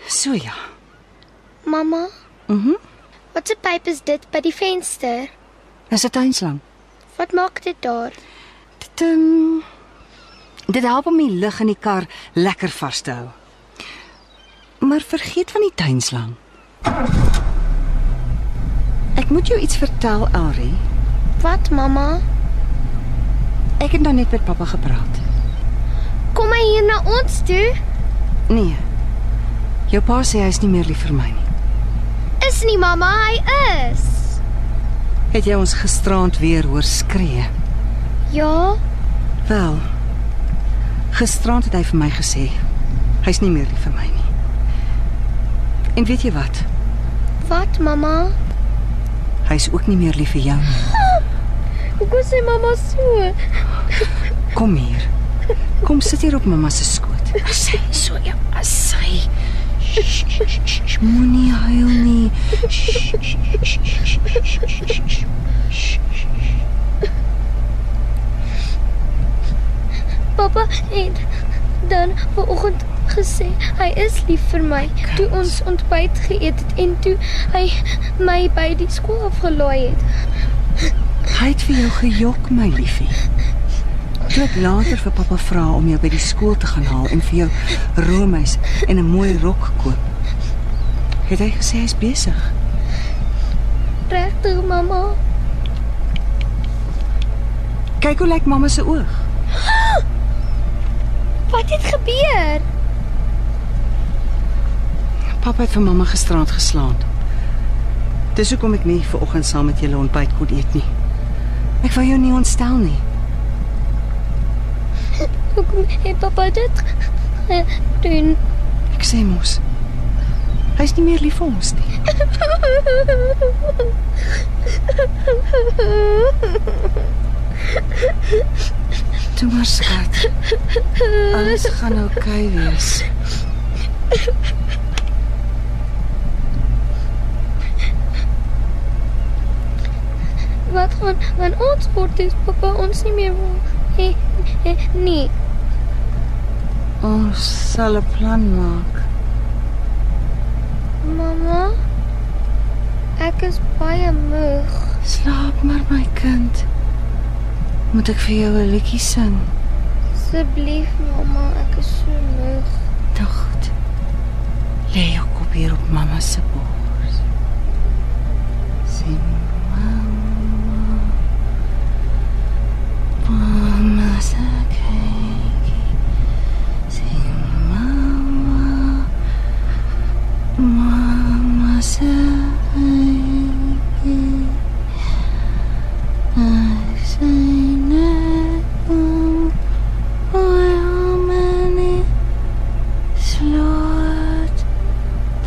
[SPEAKER 2] So ja.
[SPEAKER 3] Mamma? Mhm. Mm wat 'n pyp is dit by die venster?
[SPEAKER 2] Is dit tuinslang?
[SPEAKER 3] Wat maak dit daar?
[SPEAKER 2] Dit um, dit help om die lug in die kar lekker vas te hou. Maar vergeet van die tuinslang. Ek moet jou iets vertel, Elrie.
[SPEAKER 3] Wat, mamma?
[SPEAKER 2] Ek het nou net met pappa gepraat.
[SPEAKER 3] Kom hy hier na ons toe?
[SPEAKER 2] Nee. Jou pa sê hy is nie meer lief vir my nie.
[SPEAKER 3] Is nie, mamma, hy is.
[SPEAKER 2] Het jy ons gisteraand weer hoor skree?
[SPEAKER 3] Ja,
[SPEAKER 2] Wel. Gisteraand het hy vir my gesê hy's nie meer lief vir my nie. En weet jy wat?
[SPEAKER 3] wat, mamma?
[SPEAKER 2] Hy's ook nie meer lief vir jou nie.
[SPEAKER 3] Hoekom sê mamma so?
[SPEAKER 2] Kom hier. Kom sit hier op mamma se skoot.
[SPEAKER 5] Sy is so ja, sy.
[SPEAKER 2] Moenie huil nie.
[SPEAKER 3] Pappa het dan vanoggend gesê hy is lief vir my toe ons ontbyt geëet het en toe hy my by die skool afgelaai het.
[SPEAKER 2] Hy het vir jou gejok, my liefie. Toe ek later vir pappa vra om jou by die skool te gaan haal en vir jou roomys en 'n mooi rok koop, het hy gesê hy's besig.
[SPEAKER 3] Regtig, mamma?
[SPEAKER 2] Kyk hoe lyk mamma se oog.
[SPEAKER 3] Wat het gebeur?
[SPEAKER 2] Pappa het vir mamma gisteraand geslaan. Dis hoekom ek nie ver oggend saam met julle ontbyt kon eet nie. Ek wou jou nie ontstel nie.
[SPEAKER 3] Hoekom het pappa dit gedoen?
[SPEAKER 2] Ek sê mos. Hy's nie meer lief vir ons nie. Toe maar skat. Alles gaan oukei okay wees.
[SPEAKER 3] Wat gaan van ons word as pappa ons nie meer wil hê hê nie?
[SPEAKER 2] Ons sal 'n plan maak.
[SPEAKER 3] Mamma, ek is baie moeg.
[SPEAKER 2] Slaap maar my kind. Moet ek vir jou 'n liedjie sing?
[SPEAKER 3] Asseblief mamma, ek is so moeg.
[SPEAKER 2] Nou goed. Lê jou kop hier op mamma se bors. Sien mamma. Mamma se kykie. Sien mamma. Mamma se kykie. Ek sien net om om my Slot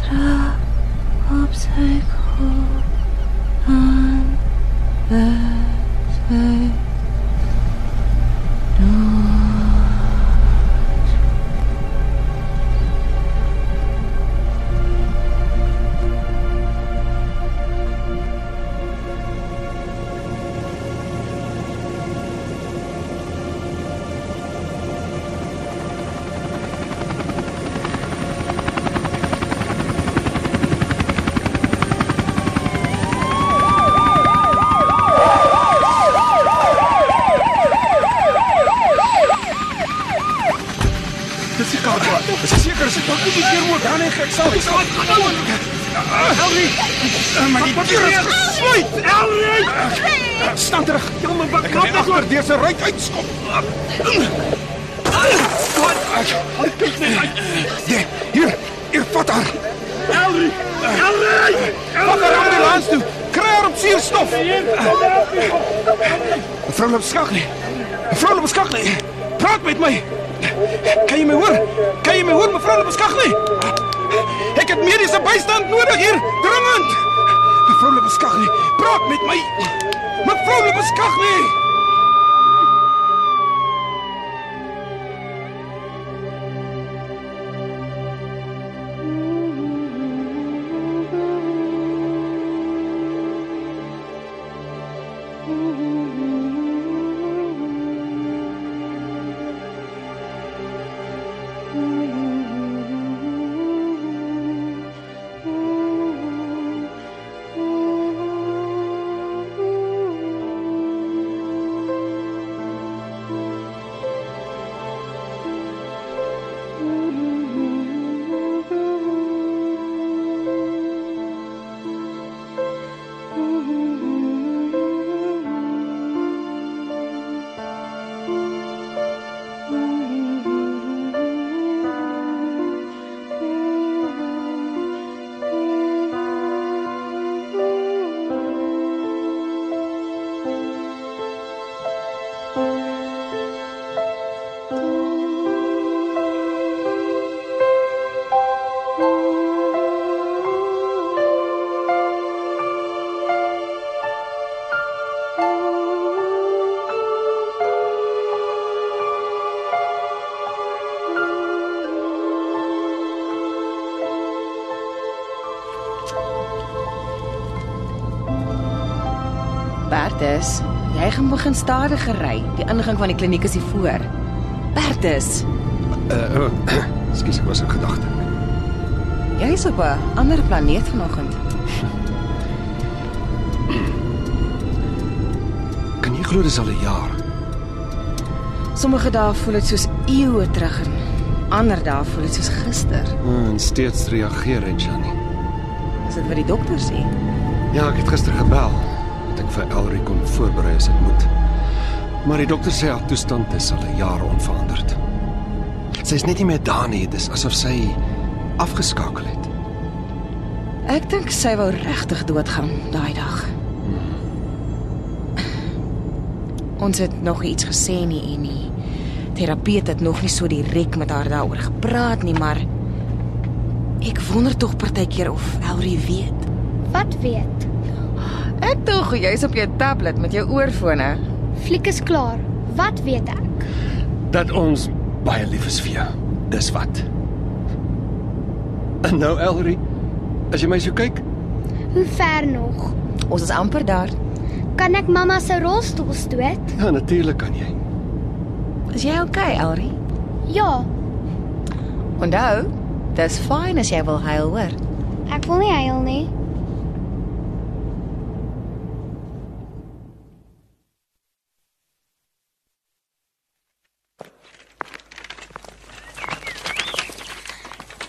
[SPEAKER 2] trap op sy kop aan wat sy
[SPEAKER 8] Probeer ook aan ek ek sal ek sal. Elrie. Maar die deur is gesluit. Elrie. Staan terug. Jy moet wat knap nog oor deur se ruit uitskop. Wat? Ek ek kyk net uit. Ja, Hier, hier vat haar. Elrie. Elrie. Vat haar ambulans toe. Kry haar op suurstof. Mevrou loop skak nie. Mevrou loop skak nie. Praat met my. Kan jy my hoor? Kan jy my hoor mevrou loop skak nie? Ek het mediese bystand nodig hier, dringend. Mevrou loop skak nie. Praat met my. Mevrou loop skak nie.
[SPEAKER 5] Bertus, jy gaan begin stadiger ry. Die ingang van die kliniek is hier voor. Bertus,
[SPEAKER 4] Uh, uh, Skus, ek was in gedagte.
[SPEAKER 5] jy's op 'n ander planeet vanoggend.
[SPEAKER 4] Kan jy glo dis al 'n jaar?
[SPEAKER 5] Sommige dae voel dit soos eeue terug en ander dae voel dit soos gister.
[SPEAKER 4] Ah, En steeds reageer Regina nie.
[SPEAKER 5] Is dit wat die dokter sê?
[SPEAKER 4] Ja, ek het gister gebel dat ek vir Elrie kon voorberei as dit moet. Maar die dokter sê haar toestand is al 'n jaar onveranderd. Sy is net nie meer daar nie, dis asof sy afgeskakel het.
[SPEAKER 5] Ek dink sy wou regtig doodgaan daai dag. Ons het nog iets gesê nie en nie. Terapeut het nog nie so direk met haar daaroor gepraat nie, maar ek wonder tog partykeer of Elrie weet.
[SPEAKER 3] Wat weet?
[SPEAKER 5] Ek tog jy's op jou tablet met jou oorfone.
[SPEAKER 3] Fliek is klaar. Wat weet ek?
[SPEAKER 4] Dat ons baie lief is vir jou. Dis wat. En nou Elrie, as jy my so kyk,
[SPEAKER 3] Hoe ver nog?
[SPEAKER 5] Ons is amper daar.
[SPEAKER 3] Kan ek mamma se rolstoel stoot?
[SPEAKER 4] ja natuurlik kan jy.
[SPEAKER 5] Is jy okay, Elrie?
[SPEAKER 3] Ja,
[SPEAKER 5] Onthou, dis fyn as jy wil huil, hoor.
[SPEAKER 3] ek wil nie huil nie.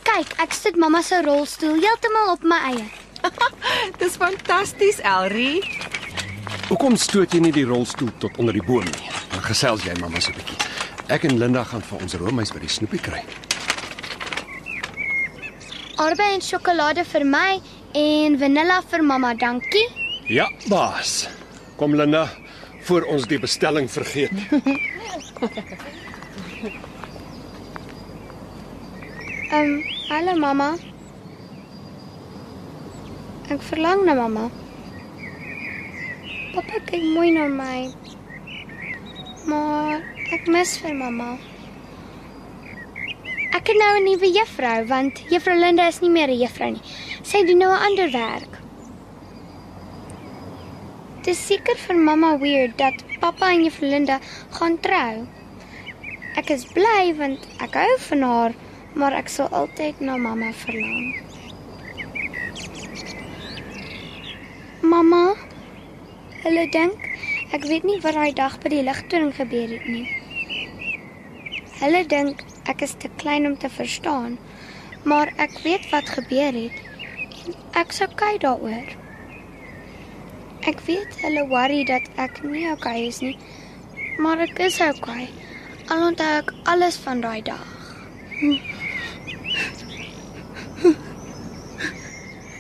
[SPEAKER 3] Kyk, ek sit mamma se rolstoel heeltemal op my eie.
[SPEAKER 5] Dis fantasties, Elrie.
[SPEAKER 4] Hoekom stoot jy nie die rolstoel tot onder die boom nie? Dan gesels jy mamma so 'n bietjie. Ek en Linda gaan vir ons roomys by die snoepie kry.
[SPEAKER 3] Arbei en sjokolade vir my en vanilla vir mamma, dankie.
[SPEAKER 4] Ja, baas. Kom Linda, voor ons die bestelling vergeet.
[SPEAKER 3] Ehm, um, hallo mamma. Ek verlang na mamma. Pappa kyk mooi na my. Maar ek mis vir mamma. Ek het nou 'n nuwe juffrou want juffrou Linda is nie meer 'n juffrou nie. Sy doen nou 'n ander werk. Dit is seker vir mamma weird dat pappa en juffrou Linda gaan trou. Ek is bly want ek hou van haar, maar ek sal altyd na mamma verlang. Mamma, hulle dink ek weet nie wat daai dag by die ligtoring gebeur het nie. Hulle dink ek is te klein om te verstaan, maar ek weet wat gebeur het en ek's okay daaroor. Ek weet hulle worry dat ek nie okay is nie, maar ek is okay. Al onthou ek alles van daai dag.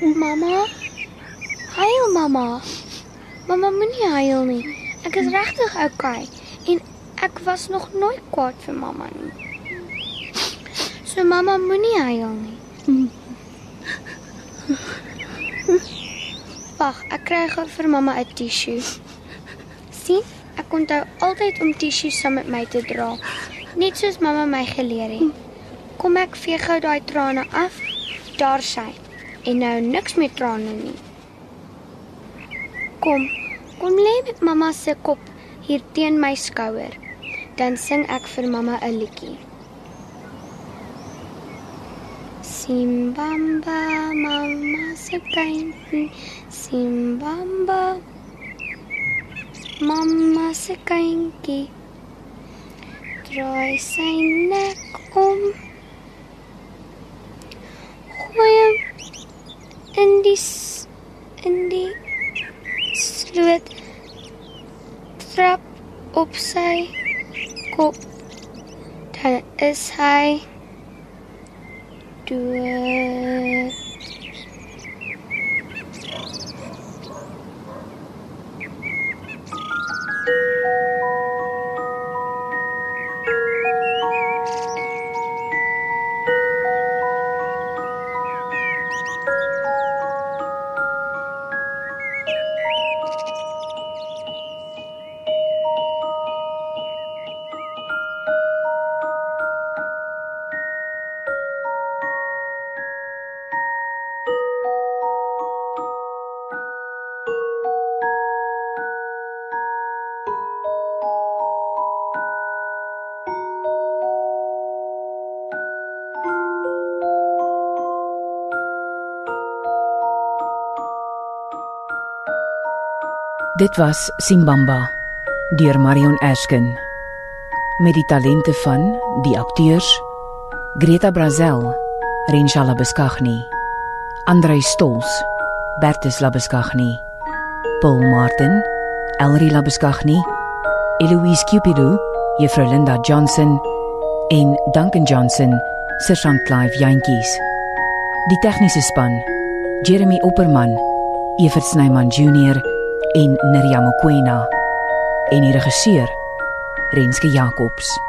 [SPEAKER 3] Mamma, huil mamma. Mamma moenie huil nie. Ek is regtig okay en ek was nog nooit kwaad vir mamma nie. So mamma moenie huil nie. Wag, ek kry gou vir mamma 'n tissue. sien? Ek onthou altyd om tissues saam met my te dra, net soos mamma my geleer het. Kom ek vee gou daai trane af. Daar sy. En nou niks met trane nie. Kom. Kom lê met mamma se kop hier teen my skouer. Dan sing ek vir mamma 'n liedjie. Simbamba mamma se kindie, Simbamba mamma se kindie. Draai sy nek om. Gooi hom in die s- in die sloot trap op sy kop. Dan is hy dood.
[SPEAKER 1] Dit was Simbamba deur Marion Ashkin met die talente van die akteurs Greta Brazel, Rinshala Beskaghni, Andrei Stols, Bertus Labeskaghni, Paul Martin, Elri Labeskaghni, Eloise Cupido, Juffrou Linda Johnson en Duncan Johnson, Sergeant Clive Jantjies. Die tegniese span: Jeremy Opperman, Evert Snyman Junior en Neriya Mokoena en die regisseur Renske Jacobs.